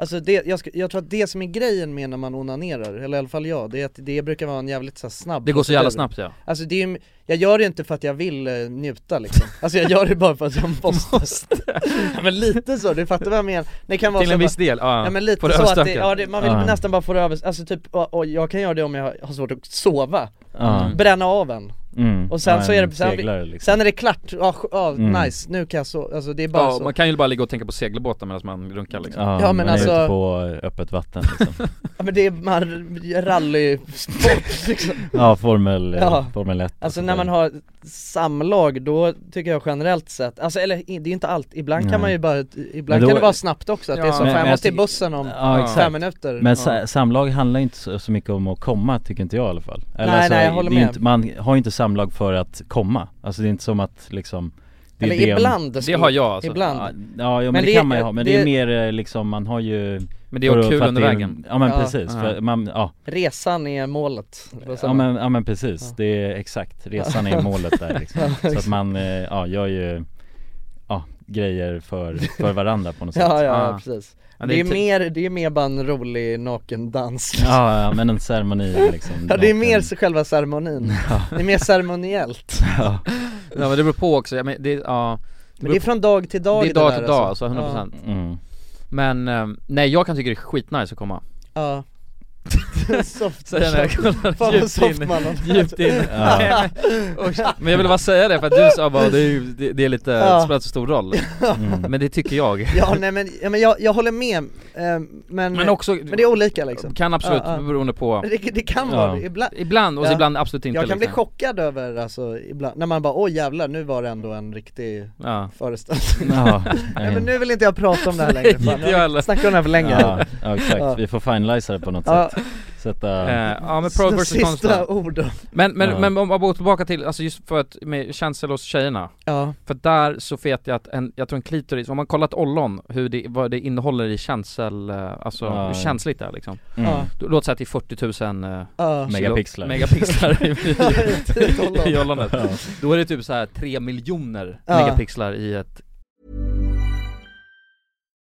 Alltså det, jag, sku- jag tror att det som är grejen med när man onanerar, eller i alla fall jag, det är att det brukar vara en jävligt så här snabb
Det går så jävla
procedur.
snabbt, ja.
Alltså det är, ju- jag gör det inte för att jag vill eh, njuta liksom Alltså jag gör det bara för att jag måste, Ja, Men lite så, du fattar vad jag menar? Det kan vara
Till
så
en
bara-
viss del, ja.
ja men
Får
lite
det
så att det,
överstökat.
ja, det, man vill
Ja.
nästan bara få det över, alltså typ, och, och jag kan göra det om jag har svårt att sova
Ja.
Bränna av en
Mm.
Och sen
Ja,
så är
en
det, sen,
seglare, liksom.
sen är det klart, ja sk- ja,
Mm.
nice, nu kan jag sova, alltså det är bara
Ja,
så
man kan ju bara ligga och tänka på segelbåtar medan man runkar liksom
Ja,
Ja, men
men man alltså... är
alltså-
ute på öppet vatten liksom.
Ja men det är man rallysport liksom
Ja, formel, formel 1
Alltså när man har samlag då tycker jag generellt sett, alltså eller i- det är inte allt, ibland
Nej.
kan man ju bara, ibland
Men då-
kan det vara snabbt också att det är så,
Men-
fan, jag
men
måste i
tycker-
bussen om
ja, exakt.
fem minuter
Men sa, samlag handlar ju inte så, så mycket om att komma tycker inte jag i alla fall alltså,
Nej, nej, jag
det
håller
är
med.
Inte, man har ju inte samlag för att komma, alltså det är inte som att liksom det är
Eller
man-
ibland skulle- Det har jag, alltså. ibland.
Ja, ja jo, men,
Men
det,
det-
kan man ju ha, men det,
det-
är mer eh, liksom man har ju
Men det är
för-
kul
för att
under
det är-
vägen.
Ja men
Ja.
precis, för
Ja.
man, ja
Resan är målet
Ja men, ja men precis, det är exakt, resan är målet där liksom.
Ja,
Så att man, eh, ja gör ju, ja grejer för, för varandra på något sätt
Ja, ja, precis.
Ja,
det, är
ty-
mer, det är mer bara en rolig nakendans
Ja, ja, men en ceremoni liksom
Ja det är mer så själva ceremonin, det är mer ceremoniellt
Ja. ja men det beror på också, ja, men det, ja,
Men det är från dag till dag
Det är dag till dag
alltså.
alltså, 100%
Ja. Mm.
Men, eh, nej jag kan tycka det är skitnice att komma
Ja Soft
Säger när jag kollar
Fan vad
djupt
soft
in,
man har varit.
djupt in Nej, men- och- Men jag ville bara säga det för att du sa bara det, är ju- det, det är lite,
Ja.
det spelar inte så stor roll Men det tycker jag
Ja nej men, ja, men jag, jag håller med, eh, men,
Men också-
men det är olika liksom
Kan absolut,
Ja, ja.
beroende på
Men Det, det kan
Ja.
vara ibland
Ibland, och
Ja.
ibland absolut inte
Jag kan bli
liksom.
chockad över alltså ibland, när man bara åh jävlar nu var det ändå en riktig
Ja.
föreställning
Ja,
Nej
nej.
men nu vill inte jag prata om det här längre, fan.
inte jag heller.
jag snackar om det här för länge
Ja, ja exakt,
Ja.
vi får finalisa det på något
Ja.
sätt Sätta...
Eh, ja men pro
Så
versus
sista
konstnär
orden.
Men, men,
Ja.
men om man går tillbaka till, alltså just för att, med känsel hos tjejerna
Ja.
För där så vet jag att en, jag tror en klitoris, om man kollat ollon, hur det, vad det innehåller i känsel, eh, alltså
Ja,
hur
ja.
känsligt det är liksom
Mm. Ja.
Då- Låt säga att det är 40 000 eh,
Ja.
kilo-
Megapixlar.
megapixlar i,
ett ollon.
i, i ollonet
Ja.
Då är det typ så här 3 miljoner
Ja.
megapixlar i ett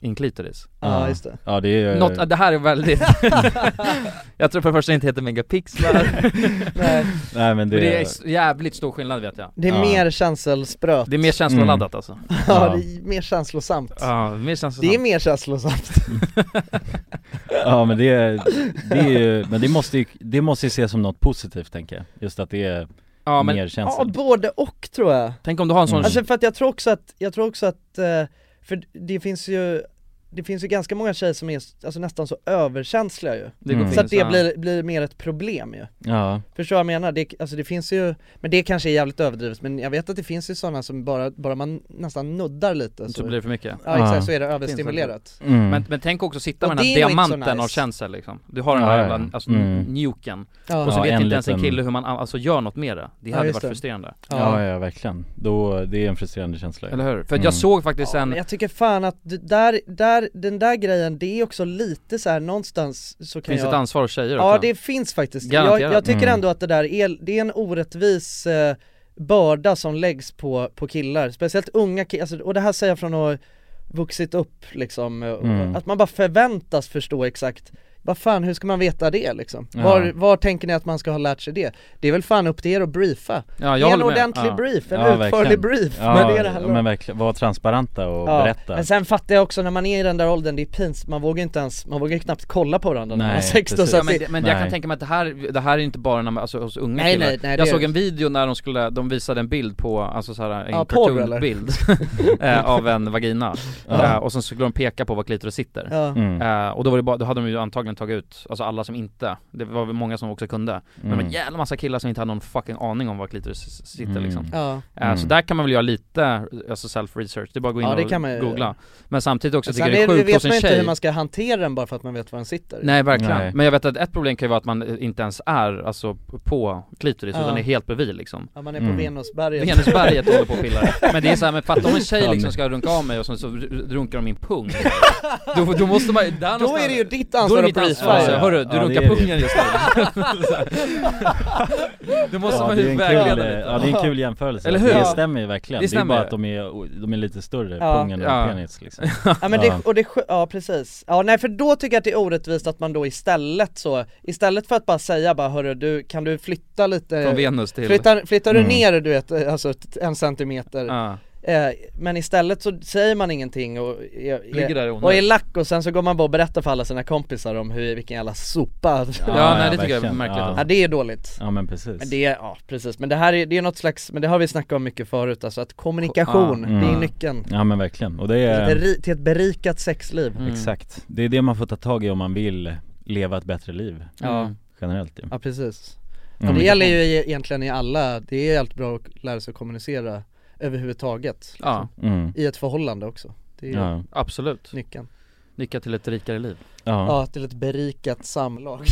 in klitoris
Ja, just det.
Ja det är ju-
Något, det här är väldigt Jag tror för det första det inte heter megapixlar
Nej.
Nej, men det-
Men det är s- jävligt stor skillnad vet jag
Det är mer känselspröt
Det är mer känsloladdat
Mm.
alltså
Ja, det är mer känslosamt
Ja, mer känslosamt.
Det är mer känslosamt
Ja men det, är- det är ju, men det måste ju, det måste ju ses som något positivt tänker jag Just att det är
Ja,
mer
men-
känsla
Ja, både och tror jag
Tänk om du har en sån-
Alltså för att jag tror också att, jag tror också att, eh, för det finns ju det finns ju ganska många tjejer som är alltså, nästan så överkänsliga
Mm.
ju,
Det går
så att
finns,
det
ja.
blir, blir mer ett problem ju
Ja.
Förstår vad jag menar? Det, alltså det finns ju, men det kanske är jävligt överdrivet men jag vet att det finns ju sådana som bara, bara man nästan nuddar lite
Så blir det för mycket
Ja exakt,
Ja.
så är det
Finns
överstimulerat
det. Mm. Men- men tänk också sitta
Och
med den här
det är nog inte så
diamanten av
nice.
känsel, liksom. Du har den här
Ja,
jävla,
ja.
alltså
Mm.
njuken
Ja.
Och så
Ja,
vet
en
inte ens en
liten-
kille hur man alltså gör något med det Det
Ja,
hade
just
varit
det.
frustrerande
Ja ja verkligen, Då, det är en frustrerande känsla ju.
Eller hur? För att
Mm.
jag såg faktiskt en,
Men jag tycker fan att det där, där, den där grejen, det är också lite så här någonstans så kan
Finns
jag...
ett ansvar hos tjejer
Ja
också?
det finns faktiskt, jag,
Garanterat.
jag tycker
Mm.
ändå att det där är, det är en orättvis eh, börda som läggs på, på killar, speciellt unga killar, alltså, och det här säger jag från att ha vuxit upp liksom, eh, och-
Mm.
att man bara förväntas förstå exakt vad fan, hur ska man veta det liksom?
Ja.
Var, var tänker ni att man ska ha lärt sig det? Det är väl fan upp till er att briefa?
Ja, jag
Ge en
håller med.
ordentlig
Ja.
brief, en
Ja,
utförlig
verkligen.
brief,
Ja,
vad är det det handlar om?
Men verkligen, var transparenta och berätta
Men sen fattar jag också när man är i den där åldern, det är pins, man vågar inte ens, man vågar ju knappt kolla på varandra när man är
Nej,
16
precis.
så
ja,
att
men,
det-
men jag kan tänka mig att det här, det här är inte bara när man, alltså, hos unga
Nej,
killar
nej, nej, det
Jag
är
såg
det.
en video när de skulle, de visade en bild på, alltså så här, en
Ja, porr, eller?
cartoon-bild eh, av en vagina
Ja.
eh, Och sen skulle de peka på var klitoris sitter
Ja. Mm.
eh, Och då var det bara, då hade de ju antagligen antagligen tagit ut, alltså alla som inte, det var väl många som också kunde Men det var
Mm.
en jävla massa killar som inte hade någon fucking aning om var klitoris s- sitter
Mm.
liksom
Ja.
Eh, Så
Mm.
där kan man väl göra lite, alltså self-research, det är bara att gå in
Ja, det
och
kan man ju-
googla Men samtidigt också
Sen
tycker jag det är sjukt
vet
hos
man
en
inte hur
tjej
man ska hantera den bara för att man vet var den sitter
Nej verkligen,
Nej.
men jag vet att ett problem kan ju vara att man inte ens är alltså på klitoris
Ja.
utan är helt bredvid liksom
Ja, man är på Mm. Venusberget.
Venusberget håller på och pillar Men det är såhär, men fatta om en tjej
Fan.
liksom ska runka av mig och så, så runkar de min pung då, då måste man ju, där
Då
någonstans-
är det ju ditt
Då är det
ansvar att
mitt
brisfire.
ansvar. Hörru, du
Ja,
runkar
det är det ju.
pungen just nu Då måste
ja,
man
det är
ju
en
vägleda
kul,
lite
Ja det är en kul jämförelse,
Eller hur?
det stämmer ju verkligen Det,
Det
är bara
stämmer.
att de är, de är lite större,
Ja.
pungen och
Ja.
penis liksom
Ja men det, och det, skö- ja precis. Ja nej för då tycker jag att det är orättvist att man då istället så, istället för att bara säga bara hörru du, kan du flytta lite
Från Venus till-
Flyttar, flyttar du
Mm.
ner du vet, alltså t- en centimeter
Ja.
eh, Men istället så säger man ingenting och är,
Ligger där i
och är
onödan.
lack och sen så går man bara och berättar för alla sina kompisar om hur, vilken jävla sopa
Ja, nej, det tycker jag är märkligt.
Ja det är dåligt
Ja men precis
men det, är- ja precis, men det här är, det är något slags, men det har vi snackat om mycket förut alltså att kommunikation,
Ja.
det är
Mm. Eh.
nyckeln
Ja men verkligen, och det
till, ett
är
beri- till ett berikat sexliv
Mm.
Mm.
Exakt, det är det man får ta tag i om man vill leva ett bättre liv
Ja.
Generellt ju
Ja precis.
Mm.
Och det gäller ju e- egentligen i alla, det är helt bra att lära sig att kommunicera överhuvudtaget. liksom.
Ja. Mm.
I ett förhållande också. Det är ju
Ja.
Absolut
Nyckeln
Nyckeln till ett rikare liv
Ja, till ett berikat samlag.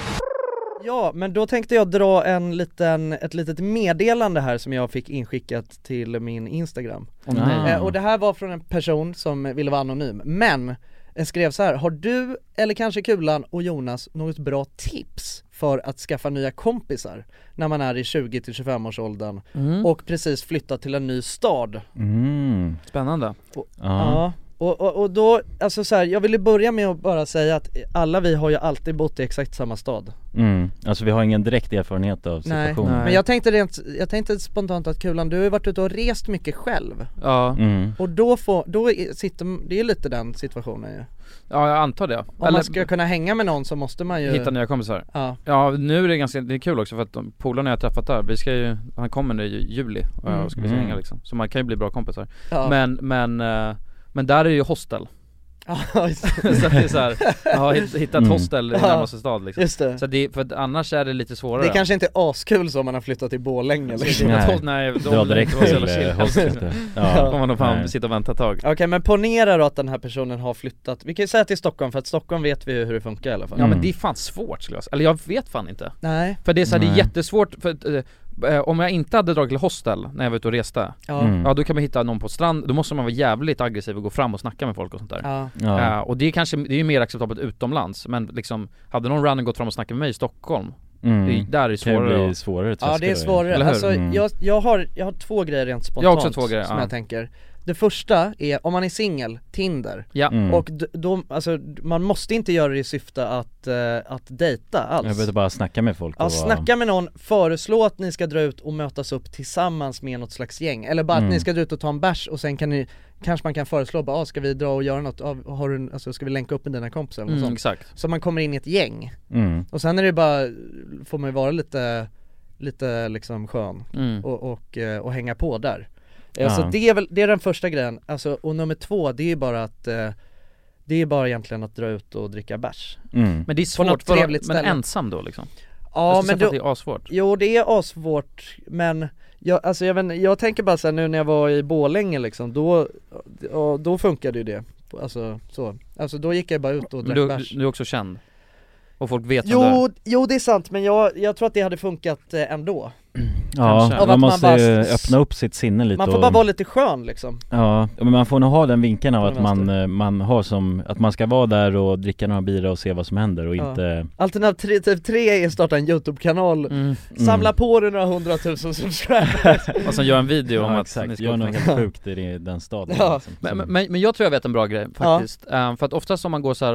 ja, men då tänkte jag dra en liten, ett litet meddelande här som jag fick inskickat till min Instagram.
Åh, nej.
Eh, Och det här var från en person som ville vara anonym, men eh, skrev så här, har du eller kanske Kulan och Jonas något bra tips för att skaffa nya kompisar när man är i 20-25 års åldern
Mm.
och precis flyttat till en ny stad?
Mm.
Spännande
Ja, och, och, och då, alltså så här, jag ville börja med att bara säga att alla vi har ju alltid bott i exakt samma stad
Mm. Alltså vi har ingen direkt erfarenhet av
Nej,
situationen
men jag tänkte rent, jag tänkte spontant att Kulan, du har ju varit ute och rest mycket själv
Ja
Mm.
Och då får, då är- sitter, det är ju lite den situationen ju
Ja jag antar det
Om man ska kunna hänga med någon så måste man ju
Hitta nya kompisar.
Ja.
nu är det ganska, det är kul också för att de polarna jag har träffat där, vi ska ju, han kommer nu i juli och
Mm.
jag ska vi
Mm.
hänga liksom. Så man kan ju bli bra kompisar.
Ja.
Men, men, eh, men där är det ju hostel.
Ja, just det.
så att det är såhär, jag har hitt- hittat
Mm.
hostel i
Ja,
närmaste stad liksom.
just det.
Så att det, för att annars är det lite svårare.
Det kanske inte är askul så om man har flyttat till Borlänge liksom.
Nej, nej de
Dra direkt
det var så jävla
till,
chill.
eh, hostlet, ja.
Då kommer man nog fan
Nej.
sitta och vänta ett tag.
Okej men ponera då att den här personen har flyttat, vi kan ju säga till Stockholm för att Stockholm vet vi ju hur det funkar i alla fall
Ja men det är fan svårt skulle jag säga, eller jag vet fan inte
Nej.
För det är så här, det är
Nej.
jättesvårt, för, att, eh, eh, om jag inte hade dragit till hostel när jag var ute och reste
Ja.
Ja,
Mm.
då kan man hitta någon på strand, då måste man vara jävligt aggressiv och gå fram och snacka med folk och sånt där
Ja.
Ja.
Eh, Och det är kanske, det är ju mer acceptabelt utomlands, men liksom Hade någon random gått fram och snackat med mig i Stockholm
Mm.
det, är- Där är det
Kan ju
svårare
bli
att-
svårare
Ja det är svårare,
Eller hur?
alltså
Mm.
jag, jag, har, jag har två grejer rent spontant
Jag har också två grejer,
som
ja.
jag tänker Det första är, om man är singel, Tinder
Ja. Mm.
Och d- då, alltså man måste inte göra det i syfte att, eh, att dejta alls
Jag behöver bara snacka med folk
Ja
och vara-
snacka med någon, föreslå att ni ska dra ut och mötas upp tillsammans med något slags gäng Eller bara att
Mm.
ni ska dra ut och ta en bärs och sen kan ni Kanske man kan föreslå bara, ah, ska vi dra och göra något? Ah, har du, en- alltså, ska vi länka upp med dina kompisar eller något
Mm,
sånt?
exakt.
Så man kommer in i ett gäng
Mm.
Och sen är det bara, får man ju vara lite Lite liksom skön
Mm.
och, och, eh, och hänga på där Eh,
Ja.
Så det är väl, det är den första grejen, alltså, och nummer två det är ju bara att eh, Det är bara egentligen att dra ut och dricka bärs
Mm.
Men det är
På något
svårt, för, men
trevligt ställe.
ensam då liksom?
Ja
Jag skulle
men då,
säga att det är assvårt.
Jo det är assvårt men jag, alltså jag, vet, inte, jag tänker bara såhär nu när jag var i Borlänge liksom, då, ja, då funkade ju det Alltså så, alltså då gick jag bara ut och
Men
drack
du,
bärs
du, du är också känd? Och folk vet vem du
Jo,
är?
jo det är sant men jag, jag tror att det hade funkat eh, ändå
Ja,
Av att
man måste
bara-
ju öppna upp sitt sinne lite
Man får
och...
bara vara lite skön liksom
Ja, men man får nog ha den vinkeln av att
Från
man, eh, man har som, att man ska vara där och dricka några bira och se vad som händer och
Ja.
inte
Alternativ 3 är att starta en YouTube-kanal,
Mm.
samla på dig några hundratusen subscribers
Och sen gör en video om
Ja,
att
exakt.
ni ska
Gör
åka.
något helt sjukt i det- den staden,
ja.
liksom.
men,
Som-
men, men jag tror jag vet en bra grej faktiskt, Ehm, för att oftast om man går så här,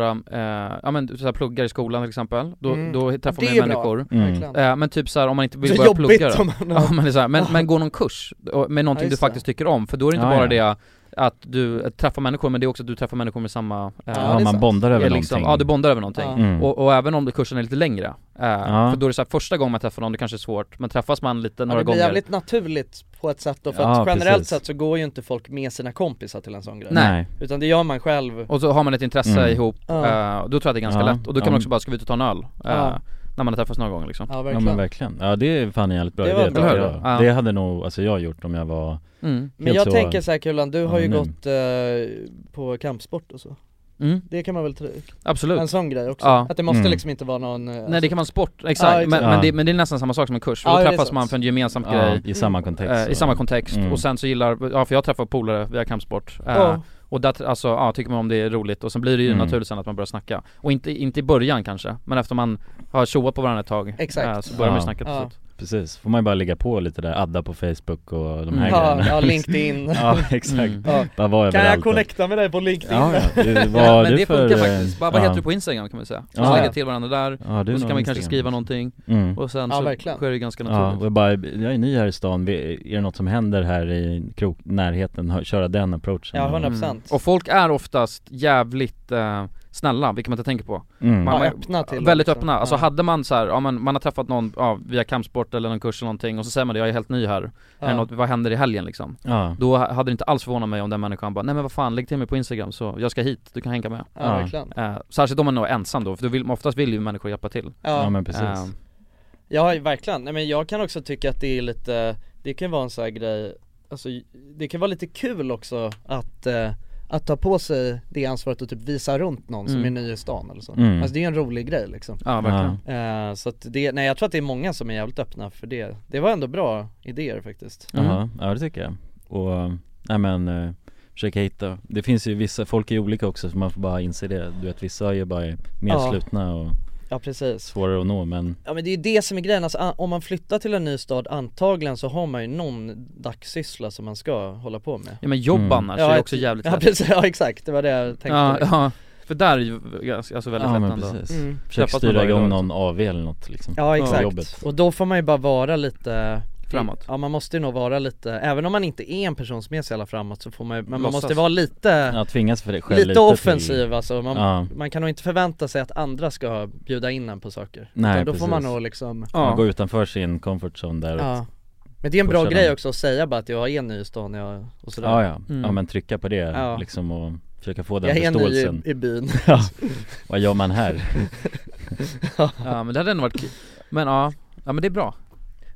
eh, ja men så här pluggar i skolan till exempel, då,
Mm.
då träffar
Det
man
är
ju
bra.
människor
Mm. Verkligen.
Eh, Men typ så här om man inte vill
Så
börja
jobbigt
plugga då.
om man har-
ja, men, det är så här, men,
Ja.
men gå någon kurs och- med
Ja,
någonting du
just
faktiskt tycker om, för då är det inte
Ja,
bara
ja.
det att du träffar människor men det är också att du träffar människor med samma... eh,
Ja, man
det är sant.
bondar över
Eh, liksom,
någonting.
Ja, du bondar över någonting.
Ja. Mm.
Och, och även om det- kursen är lite längre, eh,
Ja.
för då är det så här, första gången man träffar någon, det kanske är svårt, men träffas man lite några
det blir
gånger
jävligt naturligt på ett sätt då för
Ja,
att generellt
precis.
sett så går ju inte folk med sina kompisar till en sån grej
Nej.
Utan det gör man själv
Och så har man ett intresse
Mm.
ihop,
Ja.
eh, då tror jag att det är ganska
Ja.
lätt. Och då kan
Ja,
man
men-
också bara, ska vi ut och ta en öl? eh,
Ja.
När man har träffats några gånger liksom
Ja men verkligen, ja det är fan en jävligt bra
Det
det
var
idé
bra.
bra.
Eller
Jag.
hur? Ja.
Det hade nog, alltså jag gjort om jag var
Mm.
helt
Men jag
så-
tänker så här Kulan, du har ju
anonym.
gått eh, på kampsport och så
Mm.
Det kan man väl tro?
Absolut
En sån grej också,
Ja.
att det måste
Mm.
liksom inte vara någon eh,
Nej
alltså-
det kan vara en sport, exakt,
Ja,
Men,
Ja.
men, det, men det är nästan samma sak som en kurs,
Ja, det
då
är
träffas
sant.
man för en gemensam
Ja,
grej
i samma kontext,
Eh, I
så.
samma kontext,
Mm.
och sen så gillar, ja för jag träffar polare via kampsport eh,
Ja.
Och där, alltså, ja, tycker man om det är roligt och sen blir det ju
Mm.
naturligt sen att man börjar snacka Och inte, inte i början kanske, men efter man har tjoat på varandra ett tag
Exakt.
eh, Så börjar man ju
Ja.
snacka till slut
Precis, får man ju bara ligga på lite där, adda på Facebook och de här
Mm. Ja,
grejerna
ja, LinkedIn.
Ja exakt,
Mm. Ja.
bara vara
Kan jag
överallt.
connecta med dig på LinkedIn?
Ja, ja. Det- vad
men,
har
men
du
det
för,
funkar
eh,
faktiskt, bara vad
ja.
heter du på Instagram kan man säga? Så
Ja.
lägger jag till varandra där,
Ja, du är nog
och så kan man kanske
Instagram.
skriva någonting
Mm.
och sen
Ja,
så
verkligen.
sker det ganska
Ja,
naturligt
och jag bara, jag är ny här i stan, Vi- är det något som händer här i krok, närheten, Hör- köra den approachen?
Ja,
Och-
100%.
Mm. Och folk är oftast jävligt eh, snälla, vilket man inte tänker på
Mm.
man,
Ja,
öppna till
Väldigt
liksom.
öppna, alltså
Ja.
hade man så här, ja, man, man har träffat någon ja, via kampsport eller någon kurs eller någonting och så säger man det, jag är helt ny här,
Ja.
Är det något, vad händer i helgen liksom?
Ja.
Då ha- hade det inte alls förvånat mig om den människan bara, nej men vad fan lägg till mig på instagram så jag ska hit, du kan hänga med
Ja, Ja. verkligen.
Eh, Särskilt om man är ensam då, för då vill, oftast vill ju människor hjälpa till
Ja. Ja, men
precis.
Eh,
Ja verkligen, nej men jag kan också tycka att det är lite Det kan vara en sån här grej Alltså det kan vara lite kul också att eh, Att ta på sig det ansvaret och typ visa runt någon som
Mm.
är ny i stan eller så
Mm.
Alltså det är ju en rolig grej liksom
Ja, verkligen.
Eh, Så att det, nej jag tror att det är många som är jävligt öppna för det Det var ändå bra idéer faktiskt
Jaha, ja det tycker jag. Och, nej men, eh, försöka hitta, det finns ju vissa, folk är olika också så man får bara inse det. Du vet vissa är ju bara mer
Ja.
slutna och
Ja precis
svårare att nå men
Ja men det är ju det som är grejen, alltså, a- om man flyttar till en ny stad antagligen så har man ju någon dagssyssla som man ska hålla på med
Ja men jobb annars är ju också jävligt
Ja
lätt.
precis, ja exakt, det var det jag tänkte
ja, ja, för där är ju ganska- alltså väldigt
Ja
lätt
men
ändå
precis.
Mm.
Försök
Träffas
styra
man varje
igång
dag,
någon AV eller något liksom.
Ja
på
exakt,
Jobbet.
och då får man ju bara vara lite
Framåt.
Ja man måste ju nog vara lite, även om man inte är en person som är så jävla framåt så får man ju, men man
Låtsas.
måste vara lite
Ja, tvingas för det själv
Lite,
lite till-
offensiv alltså, man,
Ja.
man kan nog inte förvänta sig att andra ska bjuda in en på saker
Nej
Utan Då
precis.
får man nog liksom
Man går utanför sin comfort zone där
Ja.
och
Men det är en bra
pusha
grej
den.
också att säga bara att jag är ny i stan jag, och sådär
Ja ja, ja men trycka på det
Mm. Ja.
liksom och försöka få den
Jag är ny i-
förståelsen
i byn.
ja. Vad gör man här?
Ja men det hade ändå varit kul, men ja, ja men det är bra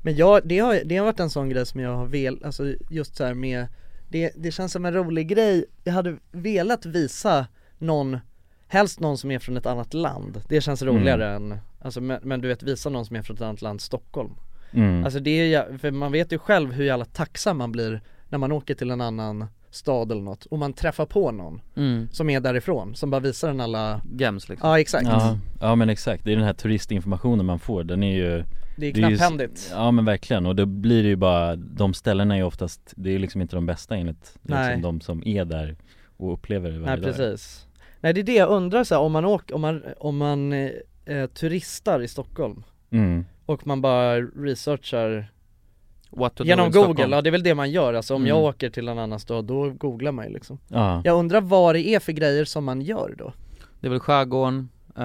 Men jag, det har, det har varit en sån grej som jag har velat, alltså just så här med det, det känns som en rolig grej, jag hade velat visa någon, helst någon som är från ett annat land Det känns roligare än, alltså men, men du vet visa någon som är från ett annat land, Stockholm
Mm.
Alltså det är ju, för man vet ju själv hur jävla tacksam man blir när man åker till en annan stad eller något och man träffar på någon
Mm.
som är därifrån, som bara visar en alla
Gems liksom
Ja exakt
Ja, ja men exakt, det är den här turistinformationen man får, den är ju
Det är
ju-
knapphändigt.
Ja men verkligen, och då blir det ju bara, de ställena är ju oftast, det är ju liksom inte de bästa enligt det är
Nej.
liksom de som är där och upplever det varje
Nej precis Nej det är det jag undrar så här, om man åker, om man, om man eh, eh, turistar i Stockholm
Mm.
och man bara researchar
What to do
Genom
in
google,
Stockholm.
ja det är väl det man gör alltså om
Mm.
jag åker till en annan stad då googlar man ju liksom
Ja.
Jag undrar vad det är för grejer som man gör då?
Det är väl skärgården, eh,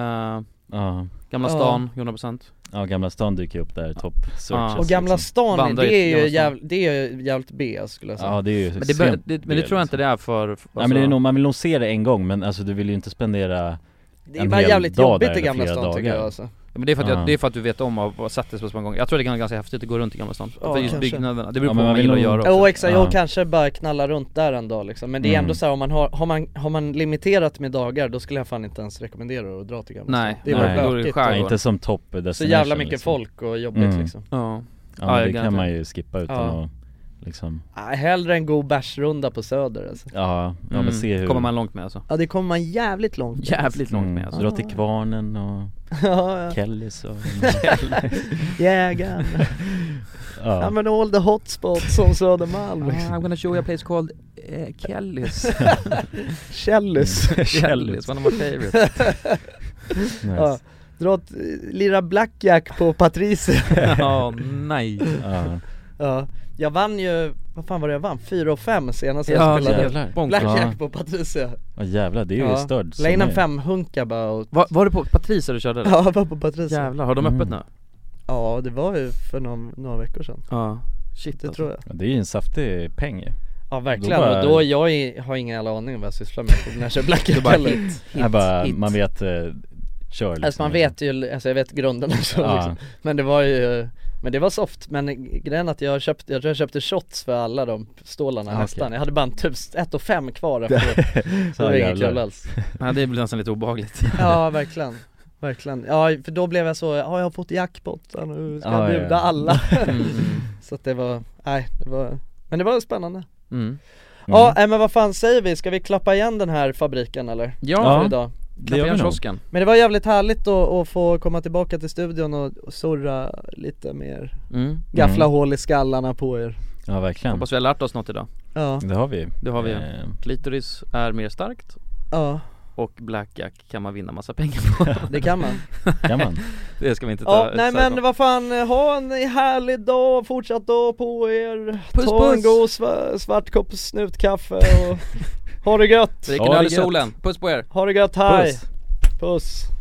Ja.
Ja.
Gamla stan, 100%
dag. Ja Gamla stan dyker ju upp där, topp searches liksom.
Ja.
Och Gamla stan,
Vandra
det
i
är ju
Gamla stan.
jävligt, det är ju jävligt B skulle jag säga
Ja det är ju
Men det,
sent
bör, det, men det
del,
tror jag inte det är för, för alltså,
Nej men det är nog, man vill nog se det en gång men alltså du vill ju inte spendera
Det är bara jävligt jobbigt i Gamla stan, tycker jag, alltså.
Ja, men det är för att,
Ja.
jag, det är för att du vet om och har sett det så många gånger Jag tror det kan vara ganska häftigt att gå runt i Gamla stan, för just
kanske.
byggnaderna, det beror
Ja, men
på vad
man
man
vill
gillar att
nog-
göra
Jo
också.
exakt,
Ja.
jag kanske bara knalla runt där en dag liksom Men det är
Mm.
ändå så här, om man har, har man, har man limiterat med dagar då skulle jag fan inte ens rekommendera att dra till Gamla
Nej,
stan Det var
nej.
bökigt
Nej, inte som topp
Så
destination,
jävla mycket
liksom.
folk och jobbigt
Mm.
liksom
Ja,
Ja, men det kan man ju skippa utan
Ja.
att liksom
Nej, Ah, Hellre en god bärsrunda på Söder alltså.
Ja, ja
Mm,
men se hur
kommer man långt med alltså
Ja det kommer man jävligt långt med.
Jävligt långt med
Mm,
alltså
Dra till Kvarnen och
Ja, ja.
Kellys och
Jägarn
Ja.
I'm an all the hotspots on Södermalm liksom.
Ah, I'm gonna show you a place called eh, Kellys
Kellys
Kellys, one of my favorites
ja, eh, Dra åt, lira blackjack på Patricia
Ja, nej
Ja.
Ja, jag vann ju, vad fan var det jag vann? 4 och 5 senast jag
Ja,
spelade
jävlar.
Blackjack
Ja.
på Patricia
Ja jävlar, det är ju störd som
La in en
är.
femhunka bara och...
Var, var du på Patricia du körde? eller?
Ja, jag var på Patricia
Jävlar, har de öppet
Mm.
nu?
Ja, det var ju för någon, några veckor sedan
Ja,
shit Det tror jag
Ja, Det är ju en saftig peng ju.
Ja verkligen,
Då bara-
och då jag är- har ingen jävla aning om vad jag sysslar med när jag kör Blackjack
Det bara
heller.
hit, Jag bara, man vet, eh, kör liksom.
Alltså man vet ju, alltså jag vet grunderna så
Ja.
liksom. Men det var ju men det var soft, men grejen att jag köpte, jag tror jag köpte shots för alla de stålarna
Ah,
nästan
okej.
Jag hade bara en tus, ett och fem kvar efter Så det var inget kul alls
Nej det blir nästan lite obehagligt
Ja verkligen, verkligen. Ja för då blev jag så, ja jag har fått jackpot, ja, nu ska jag
Ah, Ja, ja,
bjuda
ja.
alla
Mm, mm.
Så att det var, nej det var, men det var spännande
Mm.
Ja nej, men vad fan säger vi, ska vi klappa igen den här fabriken eller?
Ja.
för idag?
Det Klappa gör vi igen nog. kiosken.
Men det var jävligt härligt att, att få komma tillbaka till studion och, och surra lite mer
Mm.
Gaffla
Mm.
hål i skallarna på er
Ja verkligen
Hoppas vi har lärt oss något idag
Ja.
Det har vi
Det har vi
Eh.
Klitoris är mer starkt
Ja.
Och blackjack kan man vinna massa pengar på
Det kan man.
Kan man?
Det ska vi inte ta
Ja, nej
säga
men
om.
vad fan, ha en härlig dag, fortsatt dag på er
Puss,
Ta en
puss.
god sva- svart kopp snutkaffe och ha det gött!
Drick en öl i solen, puss på er!
Ha det gött, hej!
Puss.
puss.